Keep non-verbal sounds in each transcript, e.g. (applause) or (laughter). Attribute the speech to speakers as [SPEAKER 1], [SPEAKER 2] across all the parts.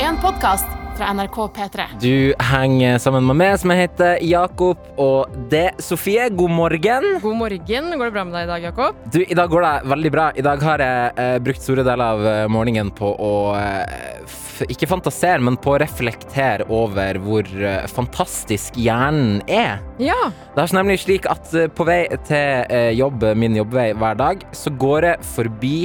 [SPEAKER 1] en podkast fra NRK P3.
[SPEAKER 2] Du henger sammen med meg, som jeg heter Jakob, og det Sofie. God morgen.
[SPEAKER 3] God morgen. Går det bra med deg i dag, Jakob?
[SPEAKER 2] Du, I dag går det veldig bra. I dag har jeg eh, brukt store deler av eh, morgenen på å eh, f ikke fantasere, men på å reflektere over hvor eh, fantastisk hjernen er.
[SPEAKER 3] Ja.
[SPEAKER 2] Det er nemlig slik at eh, på vei til eh, jobb, min jobbvei hver dag, så går jeg forbi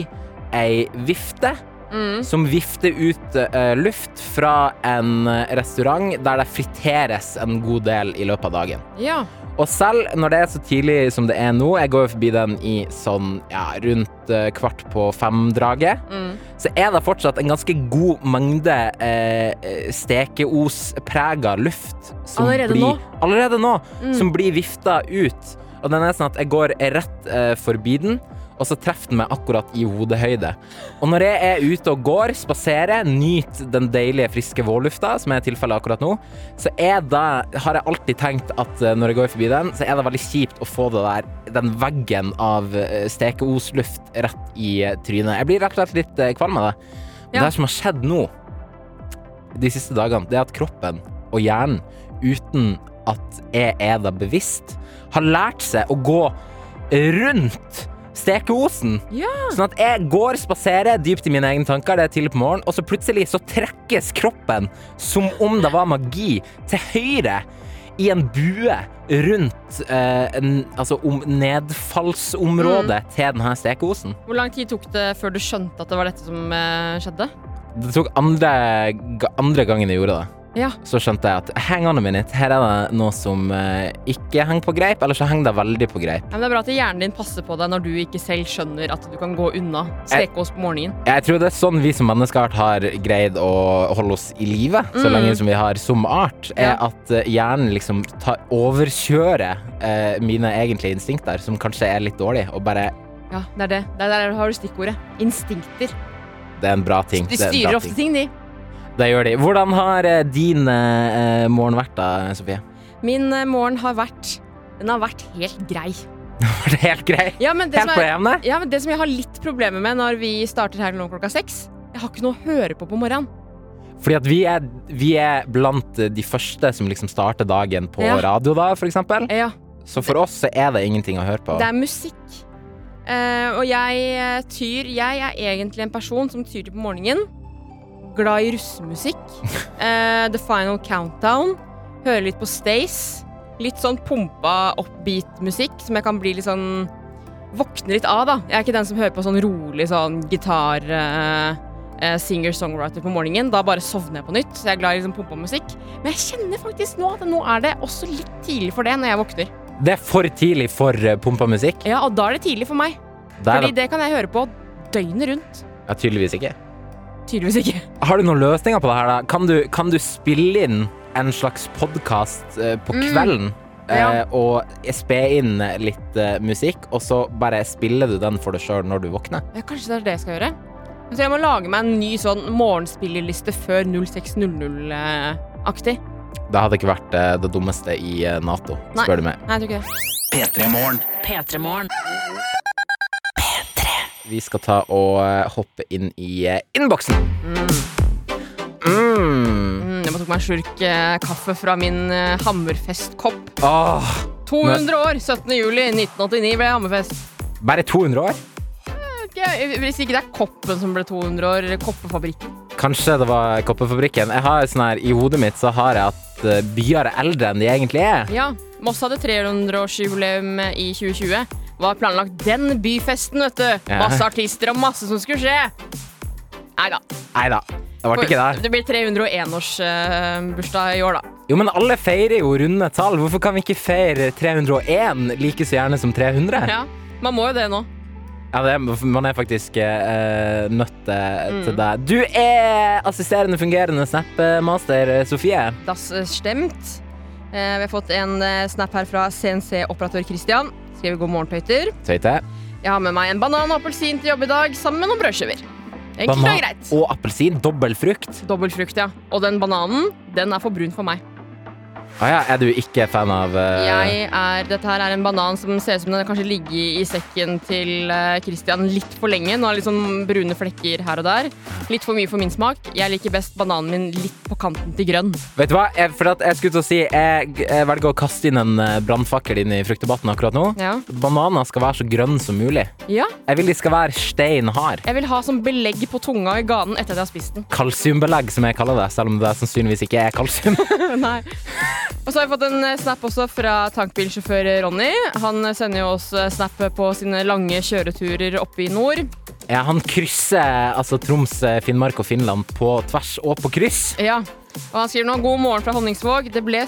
[SPEAKER 2] ei vifte
[SPEAKER 3] Mm.
[SPEAKER 2] som vifter ut eh, luft fra en eh, restaurant der det friteres en god del i løpet av dagen.
[SPEAKER 3] Ja.
[SPEAKER 2] Og selv når det er så tidlig som det er nå, jeg går jo forbi den i sånn ja, rundt eh, kvart på fem-draget,
[SPEAKER 3] Mm.
[SPEAKER 2] så er det fortsatt en ganske god mengde eh, eh, stekeosprega luft som
[SPEAKER 3] Allerede
[SPEAKER 2] blir,
[SPEAKER 3] nå?
[SPEAKER 2] Allerede nå.
[SPEAKER 3] Mm.
[SPEAKER 2] Som blir vifta ut. Og den er sånn at jeg går rett eh, forbi den, og så treffer den meg akkurat i hodehøyde. Og når jeg er ute og går, spaserer, nyter den deilige, friske vårlufta, som er tilfellet akkurat nå, så er det, har jeg alltid tenkt at eh, når jeg går forbi den, så er det veldig kjipt å få det der, den veggen av eh, stekeosluft rett i eh, trynet. Jeg blir rett og slett litt eh, kvalm av det.
[SPEAKER 3] Ja.
[SPEAKER 2] Det som har skjedd nå, de siste dagene, det er at kroppen og hjernen, uten at jeg er det bevisst, har lært seg å gå rundt stekeosen.
[SPEAKER 3] Ja.
[SPEAKER 2] Sånn at jeg går, spaserer dypt i mine egne tanker, det er tidlig på morgenen, og så plutselig så trekkes kroppen som om det var magi, til høyre i en bue rundt eh, en, altså om nedfallsområdet
[SPEAKER 3] Mm.
[SPEAKER 2] til denne stekeosen.
[SPEAKER 3] Hvor lang tid tok det før du skjønte at det var dette som eh, skjedde?
[SPEAKER 2] Det tok andre, ga- andre gangen jeg gjorde det.
[SPEAKER 3] Ja.
[SPEAKER 2] Så skjønte jeg at hang on a minute, her er det noe som eh, ikke henger på greip, eller så henger det veldig på greip.
[SPEAKER 3] Men det er bra at hjernen din passer på deg når du ikke selv skjønner at du kan gå unna stekos på morgenen.
[SPEAKER 2] Jeg tror det er sånn vi som menneskeart har greid å holde oss i live så
[SPEAKER 3] Mm.
[SPEAKER 2] lenge som vi har som art, er
[SPEAKER 3] Ja.
[SPEAKER 2] at eh, hjernen liksom tar, overkjører eh, mine egentlige instinkter, som kanskje er litt dårlige, og bare
[SPEAKER 3] Ja, det er det. Der, der har du stikkordet. Instinkter.
[SPEAKER 2] det er en bra ting.
[SPEAKER 3] De
[SPEAKER 2] det er en
[SPEAKER 3] styrer
[SPEAKER 2] bra
[SPEAKER 3] ofte
[SPEAKER 2] ting.
[SPEAKER 3] ting, de.
[SPEAKER 2] Det gjør de. Hvordan har eh, din eh, morgen vært da, Sofie? (laughs)
[SPEAKER 3] Min eh, morgen har vært Den har vært helt grei.
[SPEAKER 2] Var det helt grei?
[SPEAKER 3] Ja, men det som
[SPEAKER 2] Helt på
[SPEAKER 3] er
[SPEAKER 2] jevne?
[SPEAKER 3] ja, men det som jeg har litt problemer med når vi starter her nå klokka seks Jeg har ikke noe å høre på på morgenen.
[SPEAKER 2] Fordi at vi er, vi er blant de første som liksom starter dagen på
[SPEAKER 3] Ja.
[SPEAKER 2] radio, da, for eksempel.
[SPEAKER 3] Ja,
[SPEAKER 2] Så for oss så er det ingenting å høre på.
[SPEAKER 3] Det er musikk. Eh, og jeg eh, tyr Jeg er egentlig en person som tyr til på morgenen. Glad i (laughs) russemusikk. Eh, The Final Countdown. Hører litt på Stace. Litt sånn pumpa upbeat-musikk som jeg kan bli litt sånn Våkne litt av, da. Jeg er ikke den som hører på sånn rolig sånn gitar eh, eh, Singer-songwriter på morgenen. Da bare sovner jeg på nytt. Så jeg er glad i liksom pumpa musikk. Men jeg kjenner faktisk nå at nå er det også litt tidlig for det når jeg våkner.
[SPEAKER 2] Det er for tidlig for eh, pumpa musikk.
[SPEAKER 3] Ja, og da er det tidlig for meg.
[SPEAKER 2] Det er
[SPEAKER 3] Fordi det kan jeg høre på døgnet rundt.
[SPEAKER 2] det ja, tydeligvis ikke.
[SPEAKER 3] Tydeligvis ikke.
[SPEAKER 2] Har du noen løsninger på det her, da? Kan du, kan du spille inn en slags podkast på
[SPEAKER 3] Mm.
[SPEAKER 2] kvelden?
[SPEAKER 3] Ja.
[SPEAKER 2] eh, Og spe inn litt eh, musikk, og så bare spiller du den for deg sjøl når du våkner?
[SPEAKER 3] Ja, kanskje det er det jeg skal gjøre. Så jeg må lage meg en ny sånn morgenspillerliste før eh, 0600-aktig. Nei,
[SPEAKER 2] Det hadde ikke vært eh, det dummeste i eh, Nato,
[SPEAKER 3] Nei.
[SPEAKER 2] spør du meg.
[SPEAKER 3] jeg tror ikke det.
[SPEAKER 2] Vi skal ta og eh, hoppe inn i eh, innboksen. Mm.
[SPEAKER 3] Mm, jeg bare tok meg en slurk eh, kaffe fra min eh, Hammerfest-kopp.
[SPEAKER 2] Åh,
[SPEAKER 3] 200 år! 17. juli 1989 ble Hammerfest.
[SPEAKER 2] bare 200 år?
[SPEAKER 3] Ok, eh, Hvis ikke det er koppen som ble 200 år, eh, eller koppefabrikken.
[SPEAKER 2] Kanskje det var Koppefabrikken. Jeg har sånn her, I hodet mitt så har jeg at eh, byer er eldre enn de egentlig er.
[SPEAKER 3] Ja, Moss hadde 300-årsjubileum eh, i 2020. Var planlagt den byfesten, vet du.
[SPEAKER 2] Ja.
[SPEAKER 3] Masse artister og masse som skulle skje. Nei da.
[SPEAKER 2] Nei da, det ble ikke det.
[SPEAKER 3] Det blir 301-årsbursdag eh, i år, da.
[SPEAKER 2] Jo, men alle feirer jo runde tall. Hvorfor kan vi ikke feire 301 like så gjerne som 300? Ja,
[SPEAKER 3] Ja. Man må jo det nå.
[SPEAKER 2] det, er- Man er faktisk eh, nødt eh,
[SPEAKER 3] Mm.
[SPEAKER 2] til det. Du er assisterende fungerende snappmaster, Sofie.
[SPEAKER 3] Das eh, stemt. Eh, vi har fått en eh, snap her fra CNC-operatør Christian. Skriver god morgen, tøyter.
[SPEAKER 2] Tøyte.
[SPEAKER 3] Jeg har med meg en banan og appelsin til jobb i dag, sammen med noen brødskiver. Enkelt og
[SPEAKER 2] Banan
[SPEAKER 3] greit.
[SPEAKER 2] og appelsin. Dobbel frukt.
[SPEAKER 3] Dobbel frukt, ja. Og den bananen, den er for brun for meg.
[SPEAKER 2] Å ja, er du ikke fan av eh,
[SPEAKER 3] Jeg er, dette her er en banan som ser ut som den har kanskje ligget i sekken til eh, Christian litt for lenge. Nå har litt sånn brune flekker her og der. Litt for mye for min smak. Jeg liker best bananen min litt på kanten til grønn.
[SPEAKER 2] Vet du hva? Jeg, for at jeg skulle til å si jeg, jeg velger å kaste inn en eh, brannfakkel inn i fruktdebatten akkurat nå.
[SPEAKER 3] Ja.
[SPEAKER 2] Bananer skal være så grønne som mulig.
[SPEAKER 3] ja.
[SPEAKER 2] Jeg vil de skal være stein hard.
[SPEAKER 3] Jeg vil ha som belegg på tunga i ganen etter at jeg har spist
[SPEAKER 2] (laughs)
[SPEAKER 3] den.
[SPEAKER 2] Kalsiumbelegg, som jeg kaller det, selv om det sannsynligvis ikke er kalsium.
[SPEAKER 3] Nei. (laughs) Og så har jeg fått en eh, snap også fra tankbilsjåfør Ronny. Han sender jo oss eh, snap på sine lange kjøreturer oppe i nord.
[SPEAKER 2] ja, han krysser altså Troms, eh, Finnmark og Finland på tvers og på kryss.
[SPEAKER 3] Ja. Og han skriver nå God morgen fra Honningsvåg. Det ble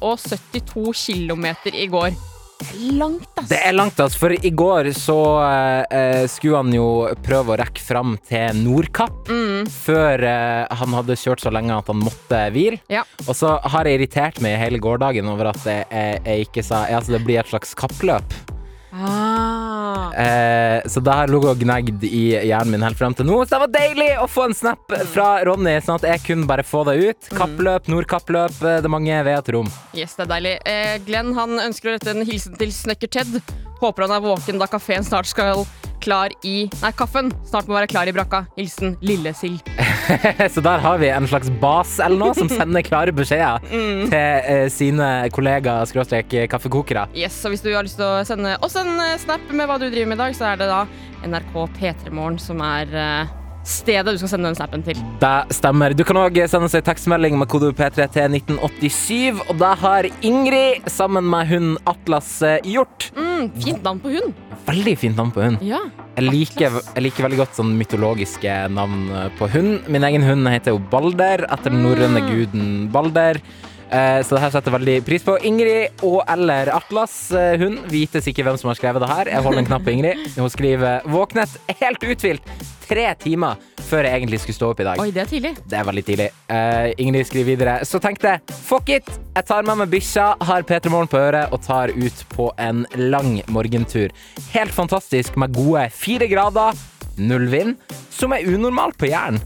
[SPEAKER 3] 772 km i går.
[SPEAKER 1] Langt, ass.
[SPEAKER 2] Det er langt, altså. For i går så eh, eh, skulle han jo prøve å rekke fram til Nordkapp før eh, han hadde kjørt så lenge at han måtte hvile.
[SPEAKER 3] Ja.
[SPEAKER 2] Og så har jeg irritert meg hele gårsdagen over at jeg, jeg, jeg ikke sa ja, altså, Det blir et slags kappløp.
[SPEAKER 3] Ah.
[SPEAKER 2] Eh, så det har ligget og gnagd i hjernen min helt fram til nå. Så det var deilig å få en snap fra Ronny, sånn at jeg kunne bare få det ut. Kappløp, Nordkappløp, eh, det er mange ved et rom. (laughs)
[SPEAKER 3] Yes, det er deilig. Eh, Glenn han ønsker å rette en hilsen til Snøkker Ted. Håper han er våken da kafeen snart skal klar i Nei, kaffen snart må være klar i brakka. Hilsen Lille Sild.
[SPEAKER 2] Så der har vi en slags bas eller noe som sender klare beskjeder til eh, sine kollegaer skråstrek kaffekokere.
[SPEAKER 3] Yes, så hvis du har lyst til å sende oss en eh, snap med hva du driver med i dag, så er det da NRK P3morgen som er eh, stedet du skal sende den snappen til.
[SPEAKER 2] Det stemmer. Du kan òg sende oss ei tekstmelding med kode P3 til 1987, og det har Ingrid sammen med hun Atlas eh, gjort.
[SPEAKER 3] Mm, fint navn på hund.
[SPEAKER 2] Veldig fint navn på hund.
[SPEAKER 3] Ja.
[SPEAKER 2] Jeg liker, jeg liker veldig godt sånn mytologiske navn på hund. Min egen hund heter jo Balder, etter den norrøne guden Balder. Eh, Så det her setter jeg veldig pris på. Ingrid og eller Atlas, eh, hun vites ikke hvem som har skrevet det her. Jeg holder en knapp på Ingrid. Hun skriver 'våknet helt uthvilt tre timer før jeg egentlig skulle stå opp i dag'.
[SPEAKER 3] Oi, det er tidlig.
[SPEAKER 2] Det er veldig tidlig. Eh, Ingrid skriver videre. Så tenkte jeg fuck it! Jeg tar med meg bikkja, har P3 Morgen på øret og tar ut på en lang morgentur. Helt fantastisk med gode fire grader, null vind, som er unormalt på Jæren.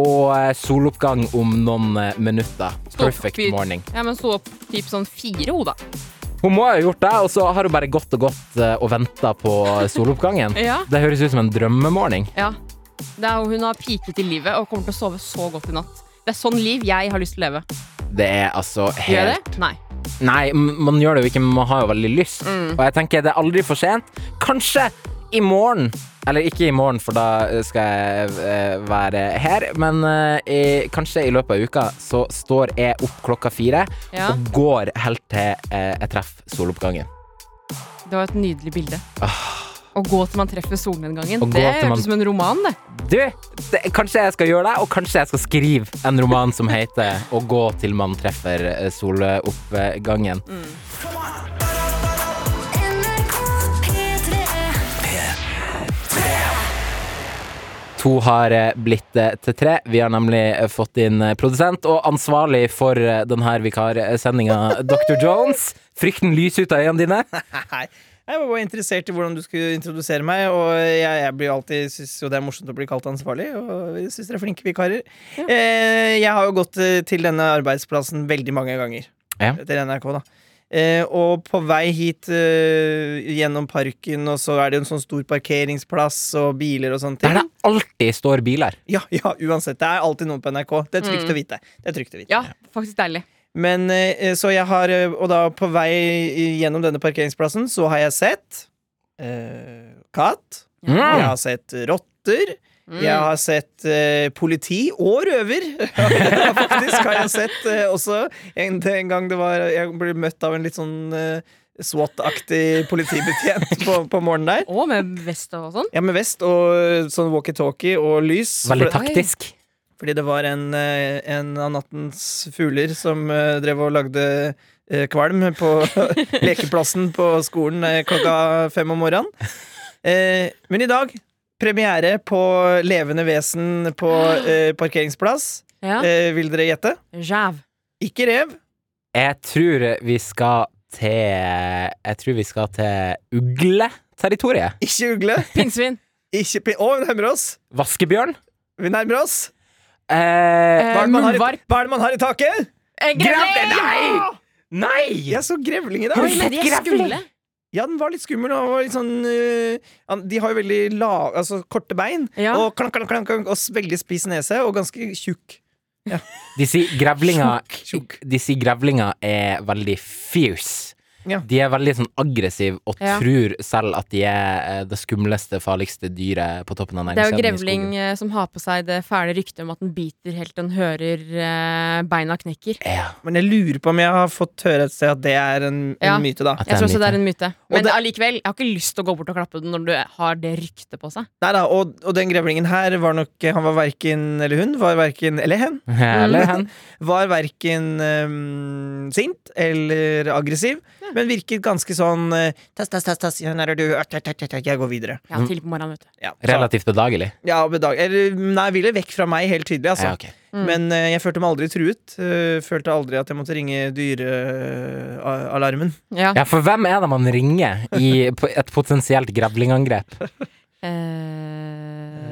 [SPEAKER 2] Og eh, soloppgang om noen eh, minutter.
[SPEAKER 3] Stå opp,
[SPEAKER 2] Perfect
[SPEAKER 3] fyr.
[SPEAKER 2] morning.
[SPEAKER 3] Ja, men stå opp typ sånn fire hoda.
[SPEAKER 2] Hun må ha gjort det, og så har hun bare gått og gått eh, og venta på soloppgangen.
[SPEAKER 3] (laughs) Ja.
[SPEAKER 2] Det høres ut som en drømmemorgen.
[SPEAKER 3] Ja. Det er, hun har piket i livet og kommer til å sove så godt i natt. Det er sånn liv jeg har lyst til å leve.
[SPEAKER 2] Det er altså
[SPEAKER 3] Gjør jeg
[SPEAKER 2] helt
[SPEAKER 3] det? Nei.
[SPEAKER 2] Nei, m- man gjør det jo ikke, men man har jo veldig lyst. Og jeg tenker det er aldri for sent. Kanskje i morgen. Eller ikke i morgen, for da eh, skal jeg eh, være her. Men eh, i, kanskje i løpet av uka så står jeg opp klokka fire
[SPEAKER 3] Ja.
[SPEAKER 2] og går helt til eh, jeg treffer soloppgangen.
[SPEAKER 3] Det var et nydelig bilde. Å gå til man treffer solnedgangen.
[SPEAKER 2] Ah. Å gå
[SPEAKER 3] Det
[SPEAKER 2] til man-
[SPEAKER 3] hørtes ut som en roman, det.
[SPEAKER 2] Du, det, kanskje jeg skal gjøre det, og kanskje jeg skal skrive en roman som heter 'Å gå til man treffer eh, soloppgangen'. To har eh, blitt eh, til tre. Vi har nemlig eh, fått inn eh, produsent og ansvarlig for eh, denne vikarsendinga, (laughs) Dr. Jones. Frykten lyser ut av øynene dine.
[SPEAKER 4] Nei, jeg var bare interessert i hvordan du skulle introdusere meg, og jeg, jeg blir alltid, synes jo det er morsomt å bli kalt ansvarlig, og jeg synes dere er flinke vikarer. Eh, jeg har jo gått eh, til denne arbeidsplassen veldig mange ganger,
[SPEAKER 2] Ja.
[SPEAKER 4] til NRK da. Eh, og på vei hit eh, gjennom parken, og så er det jo en sånn stor parkeringsplass og biler og sånne ting.
[SPEAKER 2] Der det alltid står biler.
[SPEAKER 4] Ja, ja, uansett. Det er alltid noen på NRK. Det er trygt
[SPEAKER 2] Mm.
[SPEAKER 4] å vite. Det er trygt å vite.
[SPEAKER 3] Ja, faktisk deilig.
[SPEAKER 4] Men eh, så jeg har eh, Og da på vei gjennom denne parkeringsplassen så har jeg sett eh, katt. Jeg
[SPEAKER 2] Mm.
[SPEAKER 4] har sett rotter. Jeg har sett eh, politi og røver. (laughs) Faktisk har jeg sett eh, også en, en gang det var Jeg ble møtt av en litt sånn eh, SWAT-aktig politibetjent på, på morgenen der.
[SPEAKER 3] Og med vest og sånn.
[SPEAKER 4] Ja, med vest og eh, sånn walkietalkie og lys.
[SPEAKER 2] Veldig
[SPEAKER 4] For-
[SPEAKER 2] taktisk.
[SPEAKER 4] fordi det var en, eh, en av nattens fugler som eh, drev og lagde eh, kvalm på lekeplassen på skolen eh, klokka fem om morgenen. Eh, Men i dag premiere på Levende vesen på eh, parkeringsplass.
[SPEAKER 3] Ja.
[SPEAKER 4] Eh, Vil dere gjette?
[SPEAKER 3] Jæv.
[SPEAKER 4] Ikke rev.
[SPEAKER 2] Jeg tror vi skal til Jeg tror vi skal til ugleterritoriet.
[SPEAKER 4] Ikke ugle.
[SPEAKER 3] Pinnsvin.
[SPEAKER 4] Ikke pi... Å, vi nærmer oss!
[SPEAKER 2] Vaskebjørn.
[SPEAKER 4] Vi nærmer oss.
[SPEAKER 2] Eh,
[SPEAKER 4] Hva er, det man har i,
[SPEAKER 3] muldvarp.
[SPEAKER 4] hva er det man har i taket?
[SPEAKER 3] Eh, Grevling!
[SPEAKER 2] Grevling! Nei! Nei!
[SPEAKER 4] Jeg så grevling i dag!
[SPEAKER 2] Har
[SPEAKER 1] Oi,
[SPEAKER 2] du
[SPEAKER 1] men
[SPEAKER 2] sett
[SPEAKER 1] de er
[SPEAKER 2] grevling?
[SPEAKER 1] skumle.
[SPEAKER 4] Ja, den var litt skummel. Og var litt sånn, øh, han- de har jo veldig la, altså, korte bein,
[SPEAKER 3] Ja.
[SPEAKER 4] og, klank, klank, klank, klank, og s- veldig spiss nese, og ganske tjukk.
[SPEAKER 2] De sier grevlinger
[SPEAKER 4] Tjukk,
[SPEAKER 2] De sier grevlinger er veldig fierce.
[SPEAKER 4] Ja.
[SPEAKER 2] De er veldig sånn aggressive og
[SPEAKER 3] Ja.
[SPEAKER 2] tror selv at de er eh, det skumleste, farligste dyret på toppen av
[SPEAKER 3] Det er jo
[SPEAKER 2] næringskjeden. i
[SPEAKER 3] grevling
[SPEAKER 2] skogen.
[SPEAKER 3] eh, som har på seg det fæle ryktet om at den biter helt til den hører eh, beina knekker.
[SPEAKER 2] Ja. (laughs)
[SPEAKER 4] Men jeg lurer på om jeg har fått høre et sted at det er en, en
[SPEAKER 3] Ja.
[SPEAKER 4] myte, da.
[SPEAKER 2] At det
[SPEAKER 3] Jeg
[SPEAKER 2] er
[SPEAKER 3] tror også
[SPEAKER 2] myte.
[SPEAKER 3] det er en myte. Men
[SPEAKER 4] det-
[SPEAKER 3] allikevel, jeg har ikke lyst til å gå bort og klappe den når du har det ryktet på seg.
[SPEAKER 4] Nei da, og, og den grevlingen her var nok eh, Han var verken Eller hun var verken Eller hen.
[SPEAKER 2] Eller hen.
[SPEAKER 4] (laughs)
[SPEAKER 3] (laughs)
[SPEAKER 4] Var verken øhm, sint eller aggressiv, men virket ganske sånn øh, Tass, tass, tass, tass, ja, der er du, ah, tass, tass, tass, tass, jeg går videre.
[SPEAKER 2] Mm.
[SPEAKER 3] Ja, tidlig på morgenen, vet du.
[SPEAKER 4] Ja, så-
[SPEAKER 2] Relativt bedagelig.
[SPEAKER 4] Ja, bedag eller, Nei, ville vekk fra meg, helt tydelig, altså.
[SPEAKER 2] Ja, ok.
[SPEAKER 3] Mm.
[SPEAKER 4] Men eh, jeg følte meg aldri truet. eh, følte aldri at jeg måtte ringe (laughs) dyrealarmen.
[SPEAKER 3] Ja.
[SPEAKER 2] ja, for hvem er det man ringer
[SPEAKER 3] (laughs)
[SPEAKER 2] i på- et potensielt grevlingangrep?
[SPEAKER 3] (laughs)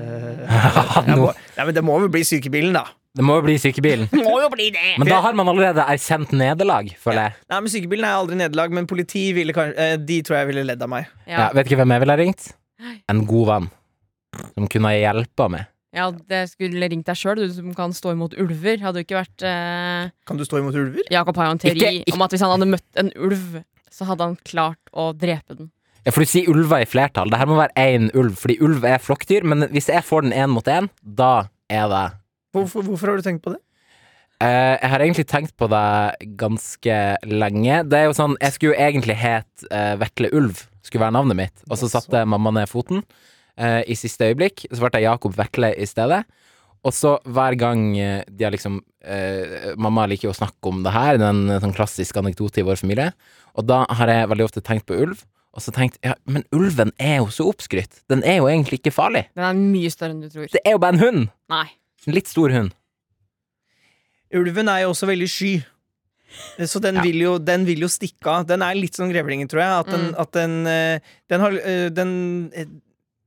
[SPEAKER 3] Eh,
[SPEAKER 4] Jeg
[SPEAKER 2] Nå,
[SPEAKER 4] må- Nei, men det må vel bli sykebilen, da.
[SPEAKER 2] det må jo bli sykebilen.
[SPEAKER 3] Må jo bli det!
[SPEAKER 2] Men da har man allerede erkjent nederlag, føler jeg.
[SPEAKER 4] Nei, men Sykebilen er aldri nederlag, men politi ville kan- eh, De tror jeg ville ledd av meg.
[SPEAKER 2] Ja,
[SPEAKER 3] Ja,
[SPEAKER 2] vet ikke hvem jeg ville ha ringt? En god venn. Som kunne ha hjulpet meg.
[SPEAKER 3] ja det skulle ringt deg sjøl, du som kan stå imot ulver. Hadde jo ikke vært eh,
[SPEAKER 4] Kan du stå imot ulver?
[SPEAKER 3] Jakob har jo en teori
[SPEAKER 2] Ikke- ikke-
[SPEAKER 3] om at hvis han hadde møtt en ulv, så hadde han klart å drepe den.
[SPEAKER 2] Ja, for du sier ulver i flertall. Det her må være én ulv, fordi ulv er flokkdyr. Men hvis jeg får den én mot én, da er det
[SPEAKER 4] Hvorfor, hvorfor har du tenkt på det?
[SPEAKER 2] Eh, Jeg har egentlig tenkt på det ganske lenge. Det er jo sånn, Jeg skulle jo egentlig het eh, Vetle Ulv, skulle være navnet mitt. Og så
[SPEAKER 4] Jaså.
[SPEAKER 2] satte mamma ned foten eh, i siste øyeblikk. Så ble jeg Jakob Vetle i stedet. Og så hver gang eh, de har liksom eh, Mamma liker jo å snakke om det her, det er en eh, sånn klassisk anekdote i vår familie. Og da har jeg veldig ofte tenkt på ulv. Og så tenkt ja, men ulven er jo så oppskrytt. Den er jo egentlig ikke farlig.
[SPEAKER 3] Den er mye større enn du tror.
[SPEAKER 2] Det er jo bare en hund.
[SPEAKER 3] Nei.
[SPEAKER 2] En litt stor hund.
[SPEAKER 4] Ulven er jo også veldig sky. Eh, Så den,
[SPEAKER 2] Ja.
[SPEAKER 4] vil jo, den vil jo stikke av. Den er litt som grevlingen, tror jeg. At den, at den, eh, den har eh, den, eh,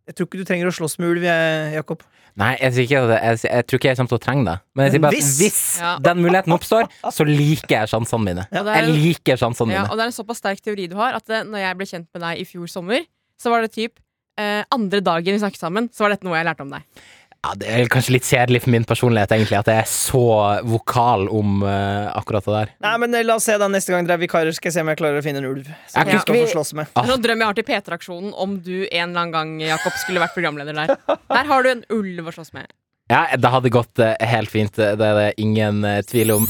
[SPEAKER 4] Jeg tror ikke du trenger å slåss med ulv, jeg, Jakob.
[SPEAKER 2] Nei, jeg, sier ikke at jeg, jeg, jeg tror ikke jeg kommer til å trenge det. Men jeg sier
[SPEAKER 4] Men
[SPEAKER 2] bare at
[SPEAKER 4] hvis-
[SPEAKER 2] hvis
[SPEAKER 3] Ja.
[SPEAKER 2] den muligheten oppstår, så liker jeg sjansene mine.
[SPEAKER 3] Og det er-
[SPEAKER 2] Jeg liker sjansene
[SPEAKER 3] Ja,
[SPEAKER 2] mine.
[SPEAKER 3] og det er en såpass sterk teori du har, at eh, når jeg ble kjent med deg i fjor sommer, så var det typ eh, andre dagen vi snakket sammen, så var dette noe jeg lærte om deg.
[SPEAKER 2] Ja, det er kanskje litt kjedelig for min personlighet, egentlig, at jeg er så vokal om eh, akkurat det der.
[SPEAKER 4] Nei, men eh, La oss se da neste gang dere er vikarer, skal jeg se om jeg klarer å finne en ulv.
[SPEAKER 2] Ja,
[SPEAKER 4] Som vi
[SPEAKER 2] husker
[SPEAKER 4] skal få
[SPEAKER 2] vi-
[SPEAKER 4] slåss med
[SPEAKER 2] Ah.
[SPEAKER 3] Det er sånn drøm jeg har til P3-aksjonen om du en eller annen gang, Jakob, skulle vært programleder der. Der har du en ulv å slåss med.
[SPEAKER 2] Ja, det hadde gått eh, helt fint. Det er det ingen eh, tvil om.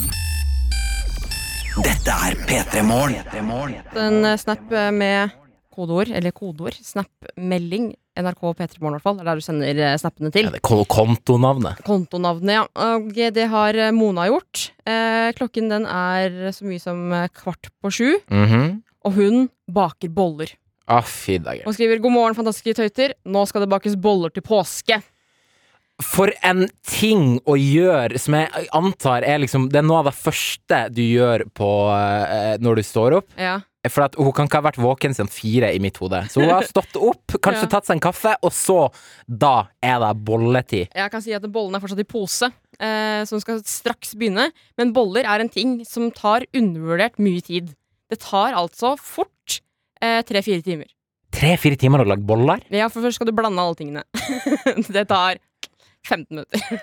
[SPEAKER 5] Dette er P3 Morgen.
[SPEAKER 3] En eh, snap eh, med kodeord, eller kodeord, snap-melding, NRK P3 Morgen i hvert fall, det er der du sender eh, snappene til.
[SPEAKER 2] Ja, det er kontonavnet.
[SPEAKER 3] Kontonavnet, ja. Og det har eh, Mona gjort. Eh, klokken den er så mye som eh, kvart på sju,
[SPEAKER 2] Mhm.
[SPEAKER 3] og hun baker boller.
[SPEAKER 2] Å, fy dager.
[SPEAKER 3] Og skriver 'God morgen, fantastiske tøyter'. Nå skal det bakes boller til påske.
[SPEAKER 2] For en ting å gjøre som jeg antar er liksom Det er noe av det første du gjør på, eh, når du står opp.
[SPEAKER 3] Ja.
[SPEAKER 2] For at hun kan ikke ha vært våken siden fire i mitt hode. Så hun har stått opp, kanskje
[SPEAKER 3] Ja.
[SPEAKER 2] tatt seg en kaffe, og så Da er det bolletid.
[SPEAKER 3] Jeg kan si at bollene er fortsatt i pose, eh, så hun skal straks begynne. Men boller er en ting som tar undervurdert mye tid. Det tar altså fort eh, tre-fire timer.
[SPEAKER 2] Tre-fire timer å lage boller?
[SPEAKER 3] Ja, for først skal du blande alle tingene. (laughs) det tar 15 minutter.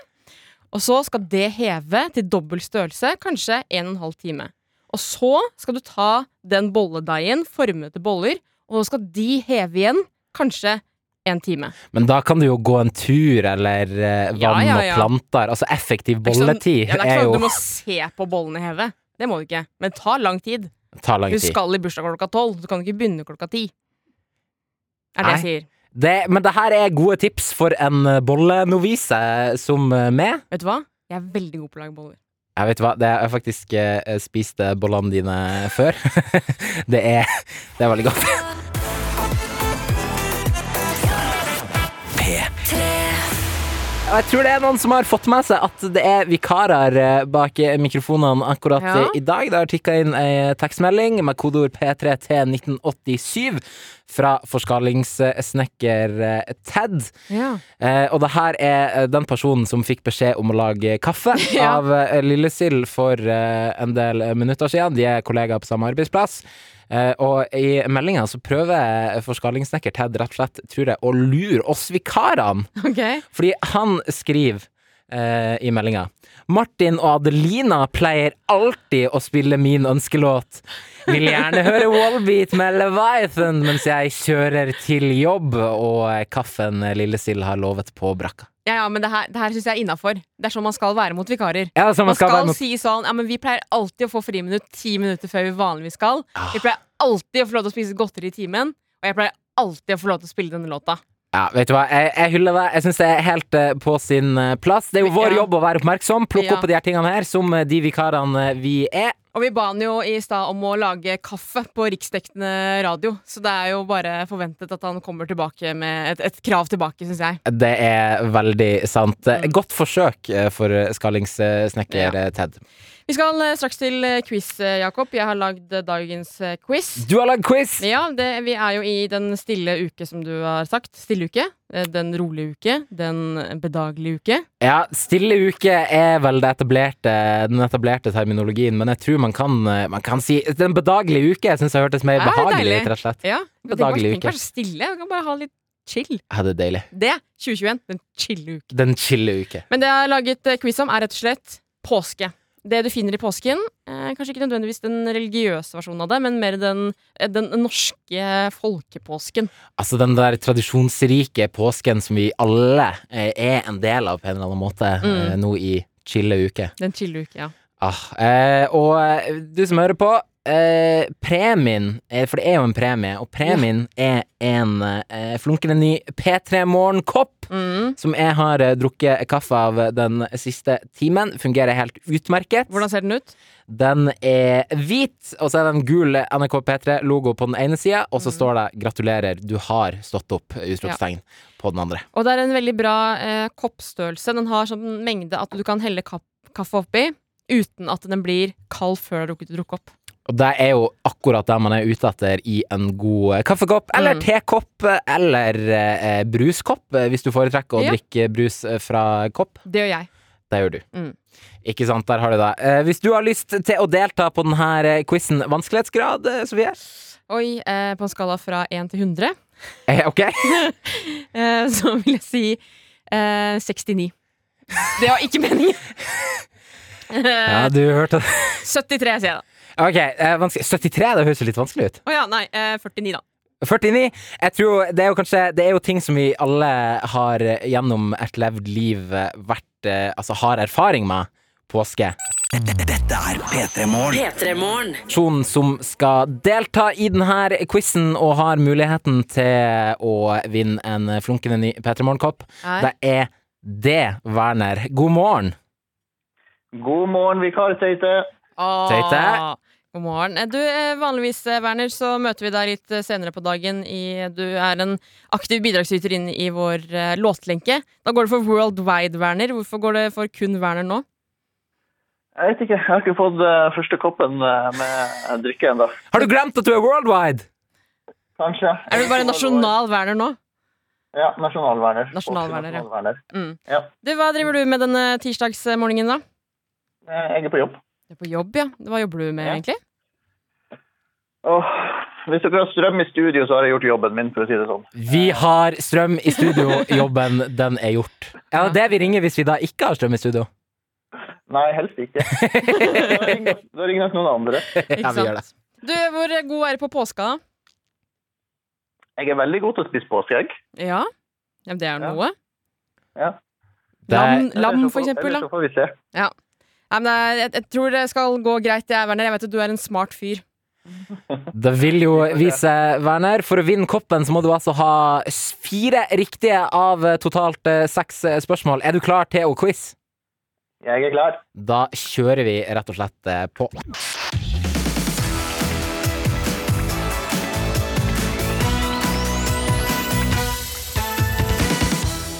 [SPEAKER 3] Og så skal det heve til dobbel størrelse, kanskje 1 12 time. Og så skal du ta den bolledeigen, forme til boller, og så skal de heve igjen, kanskje en time.
[SPEAKER 2] Men da kan du jo gå en tur, eller eh,
[SPEAKER 3] Ja,
[SPEAKER 2] vann
[SPEAKER 3] ja, ja.
[SPEAKER 2] og planter. Altså effektiv
[SPEAKER 3] Det er ikke sånn-
[SPEAKER 2] bolletid
[SPEAKER 3] ja, det er ikke
[SPEAKER 2] er
[SPEAKER 3] sånn at
[SPEAKER 2] jo
[SPEAKER 3] Du må se på bollene heve. Det må du ikke. Men det tar lang tid.
[SPEAKER 2] tar lang
[SPEAKER 3] Du
[SPEAKER 2] tid.
[SPEAKER 3] skal i bursdag klokka tolv. Du kan ikke begynne klokka ti. Er det jeg sier.
[SPEAKER 2] Det, men det her er gode tips for en eh, bollenovise som eh, meg.
[SPEAKER 3] Vet du hva? Jeg er veldig god på å lage boller.
[SPEAKER 2] Jeg vet hva, det, jeg faktisk eh, spiste bollene dine før. (laughs) det, er, det er veldig godt. Og jeg tror det er noen som har fått med seg at det er vikarer eh, bak eh, mikrofonene akkurat
[SPEAKER 3] Ja.
[SPEAKER 2] eh, i dag. Det har tikka inn ei eh, tekstmelding med kodeord P3 til 1987 fra forskalingssnekker eh, Ted.
[SPEAKER 3] Ja.
[SPEAKER 2] Eh, og det her er eh, den personen som fikk beskjed om å lage kaffe
[SPEAKER 3] Ja.
[SPEAKER 2] av eh, Lillesild for eh, en del eh, minutter siden. De er kollegaer på samme arbeidsplass. Eh, og i meldinga så prøver forskalingssnekker Ted rett og slett, tror jeg, å lure oss vikarene.
[SPEAKER 3] Ok.
[SPEAKER 2] Fordi han skriver eh, i meldinga Martin og Adelina pleier alltid å spille min ønskelåt. Vil gjerne høre Wallbeat med Leviathan mens jeg kjører til jobb og eh, kaffen Lillesild har lovet på brakka.
[SPEAKER 3] Ja, ja, men det her, det her syns jeg er innafor. Det er sånn man skal være mot vikarer.
[SPEAKER 2] Ja, så
[SPEAKER 3] Man
[SPEAKER 2] man skal være
[SPEAKER 3] skal
[SPEAKER 2] mot
[SPEAKER 3] si sånn Ja, men vi pleier alltid å få friminutt ti minutter før vi vanligvis skal. Vi pleier alltid å få lov til å spise godteri i timen, og jeg pleier alltid å få lov til å spille denne låta.
[SPEAKER 2] Ja, vet du hva, jeg, jeg hyller deg. Jeg syns det er helt eh, på sin eh, plass. Det er jo vår
[SPEAKER 3] Ja.
[SPEAKER 2] jobb å være oppmerksom, plukke
[SPEAKER 3] Ja.
[SPEAKER 2] opp på de her tingene her, som eh, de vikarene vi er.
[SPEAKER 3] Og vi ba han jo i stad om å lage kaffe på riksdekkende radio, så det er jo bare forventet at han kommer tilbake med et, et krav tilbake, syns jeg.
[SPEAKER 2] Det er veldig sant. Eh,
[SPEAKER 3] Mm.
[SPEAKER 2] Godt forsøk eh, for eh, skallingssnekker eh, Ted.
[SPEAKER 3] Vi skal eh, straks til eh, quiz, eh, Jakob. Jeg har lagd eh, dagens eh, quiz.
[SPEAKER 2] Du har lagd quiz!
[SPEAKER 3] Ja, det, vi er jo i den stille uke, som du har sagt. Stille uke. eh, Den rolige uke. Den bedagelige uke.
[SPEAKER 2] Ja, stille uke er vel det etablerte, den etablerte terminologien, men jeg tror man kan, eh, man kan si Den bedagelige uke syns jeg hørtes mer
[SPEAKER 3] Ja, det er
[SPEAKER 2] behagelig
[SPEAKER 3] deilig.
[SPEAKER 2] ut, rett og slett.
[SPEAKER 3] Ja, men tenk
[SPEAKER 2] Bedagelig
[SPEAKER 3] bare-
[SPEAKER 2] uke.
[SPEAKER 3] Tenk bare stille. Vi kan bare ha litt chill.
[SPEAKER 2] Ja, det er deilig.
[SPEAKER 3] Det, 2021, den chille uke.
[SPEAKER 2] Den chille uke.
[SPEAKER 3] Men det jeg har laget eh, quiz om, er rett og slett påske. Det du finner i påsken. Eh, kanskje ikke nødvendigvis den religiøse versjonen av det, men mer den, eh, den norske folkepåsken.
[SPEAKER 2] Altså den der tradisjonsrike påsken som vi alle eh, er en del av på en eller annen måte
[SPEAKER 3] Mm.
[SPEAKER 2] eh, nå i chille uke.
[SPEAKER 3] Den chille uke, ja.
[SPEAKER 2] Ah, eh, og eh, du som hører på, eh, premien eh, For det er jo en premie, og premien er en eh, flunkende ny P3 Morgenkopp.
[SPEAKER 3] Mm.
[SPEAKER 2] som jeg har eh, drukket kaffe av den siste timen, fungerer helt utmerket.
[SPEAKER 3] Hvordan ser den ut?
[SPEAKER 2] Den er hvit, og så er det en gul NRK P3-logo på den ene sida, og
[SPEAKER 3] Mm.
[SPEAKER 2] så står det 'Gratulerer, du har stått opp!' utropstegn på den andre.
[SPEAKER 3] Og det er en veldig bra eh, koppstørrelse. Den har sånn mengde at du kan helle kapp, kaffe oppi uten at den blir kald før du har rukket å drukke opp.
[SPEAKER 2] Og det er jo akkurat det man er ute etter i en god eh, kaffekopp, eller
[SPEAKER 3] Mm.
[SPEAKER 2] tekopp, eh, eller eh, bruskopp, eh, hvis du foretrekker å
[SPEAKER 3] Ja.
[SPEAKER 2] drikke brus eh, fra kopp.
[SPEAKER 3] Det gjør jeg.
[SPEAKER 2] Det gjør du.
[SPEAKER 3] Mm.
[SPEAKER 2] Ikke sant, der har du det. Eh, hvis du har lyst til å delta på denne quizen, vanskelighetsgrad, eh, Sofie?
[SPEAKER 3] Oi, eh, på en skala fra 1 til 100
[SPEAKER 2] Eh, ok?
[SPEAKER 3] eh, (laughs) så vil jeg si eh, 69. Det var ikke meningen!
[SPEAKER 2] Ja,
[SPEAKER 3] Eh,
[SPEAKER 2] du hørte det.
[SPEAKER 3] 73 sier jeg da.
[SPEAKER 2] (laughs) Ok, eh, vanskelig. 73, det høres jo litt vanskelig ut.
[SPEAKER 3] Å ja, nei. Eh, 49, da.
[SPEAKER 2] 49. Jeg tror det er jo kanskje Det er jo ting som vi alle har eh, gjennom et levd liv eh, vært eh, Altså har erfaring med. Påske.
[SPEAKER 5] Dette er P3 Morgen.
[SPEAKER 6] P3-morgen.
[SPEAKER 2] Personen som skal delta i denne quizen og har muligheten til å vinne en flunkende ny P3 Morgenkopp,
[SPEAKER 3] Nei.
[SPEAKER 2] det er det, Werner. God morgen.
[SPEAKER 7] God morgen, vikartøyte.
[SPEAKER 3] Ah,
[SPEAKER 2] Tøyte.
[SPEAKER 3] God morgen. Eh, Du, eh, vanligvis, eh, Werner, så møter vi deg litt eh, senere på dagen. I, du er en aktiv bidragsyter inn i vår eh, låtlenke. Da går det for Worldwide, Werner. Hvorfor går det for kun Werner nå?
[SPEAKER 7] Jeg vet ikke, jeg har ikke fått eh, første koppen eh, med drikke ennå.
[SPEAKER 2] Har du glemt at du er worldwide?
[SPEAKER 7] Kanskje.
[SPEAKER 3] Er du bare nasjonal Werner nå?
[SPEAKER 7] Ja, nasjonalverner.
[SPEAKER 3] Nasjonalverner, ja. Mm.
[SPEAKER 7] Nasjonalverner.
[SPEAKER 3] Du, Hva driver du med denne tirsdagsmorgenen, da?
[SPEAKER 7] Eh, Jeg er på jobb.
[SPEAKER 3] Du er på jobb, ja. Hva jobber du med,
[SPEAKER 7] Ja.
[SPEAKER 3] egentlig?
[SPEAKER 7] Åh, hvis dere har strøm i studio, så har jeg gjort jobben min, for å si det sånn.
[SPEAKER 2] Vi har strøm i studio. Jobben, den er gjort. Ja, det er det vi ringer hvis vi da ikke har strøm i studio.
[SPEAKER 7] Nei, helst
[SPEAKER 3] (laughs)
[SPEAKER 7] ikke. Da ringer nok- da ringer nok noen andre.
[SPEAKER 2] Ja, vi gjør det.
[SPEAKER 3] Du, hvor god er du på påska?
[SPEAKER 7] Jeg er veldig god til å spise påskeegg.
[SPEAKER 3] Ja, ja men det er
[SPEAKER 7] Ja.
[SPEAKER 3] noe.
[SPEAKER 7] Ja.
[SPEAKER 2] Det er-
[SPEAKER 3] Lam, lam,
[SPEAKER 7] Eller så
[SPEAKER 3] for
[SPEAKER 7] får-
[SPEAKER 3] eksempel.
[SPEAKER 7] eller
[SPEAKER 3] Da.
[SPEAKER 7] Så får vi se.
[SPEAKER 3] Nei, men jeg, jeg- jeg tror det skal gå greit, jeg, Werner. Jeg vet at du er en smart fyr.
[SPEAKER 2] Det vil jo vise, Werner. For å vinne koppen så må du altså ha s- fire riktige av eh, totalt eh, seks eh, spørsmål. Er du klar til å quiz?
[SPEAKER 7] Jeg er klar.
[SPEAKER 2] Da kjører vi rett og slett eh, på.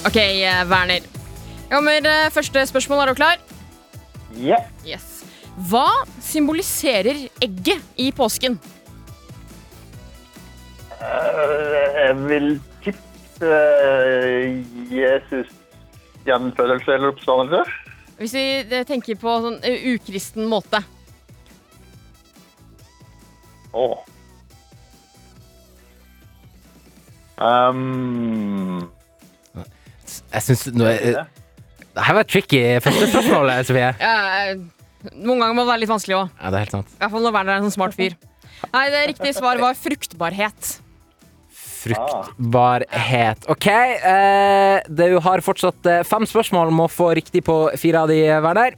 [SPEAKER 3] Ok, eh, Werner. Jeg kommer, eh, første spørsmål. Er du klar?
[SPEAKER 7] Ja.
[SPEAKER 3] Yes. Hva symboliserer egget i påsken?
[SPEAKER 7] Eh, Jeg vil tippe eh, Jesus gjenfødelse eller oppstandelse.
[SPEAKER 3] Hvis vi eh, tenker på sånn eh, ukristen måte.
[SPEAKER 7] Åh. Ehm,
[SPEAKER 2] Jeg synes nå er- Det her var tricky første spørsmål, (laughs) Sofie.
[SPEAKER 3] Eh, noen ganger må det være litt vanskelig òg.
[SPEAKER 2] Ja, det er helt sant.
[SPEAKER 3] I hvert fall når Werner er en sånn smart fyr. (laughs) Nei, det riktige svaret var fruktbarhet.
[SPEAKER 2] Fruktbarhet. OK, eh, du har fortsatt eh, fem spørsmål. Må få riktig på fire av de, Werner.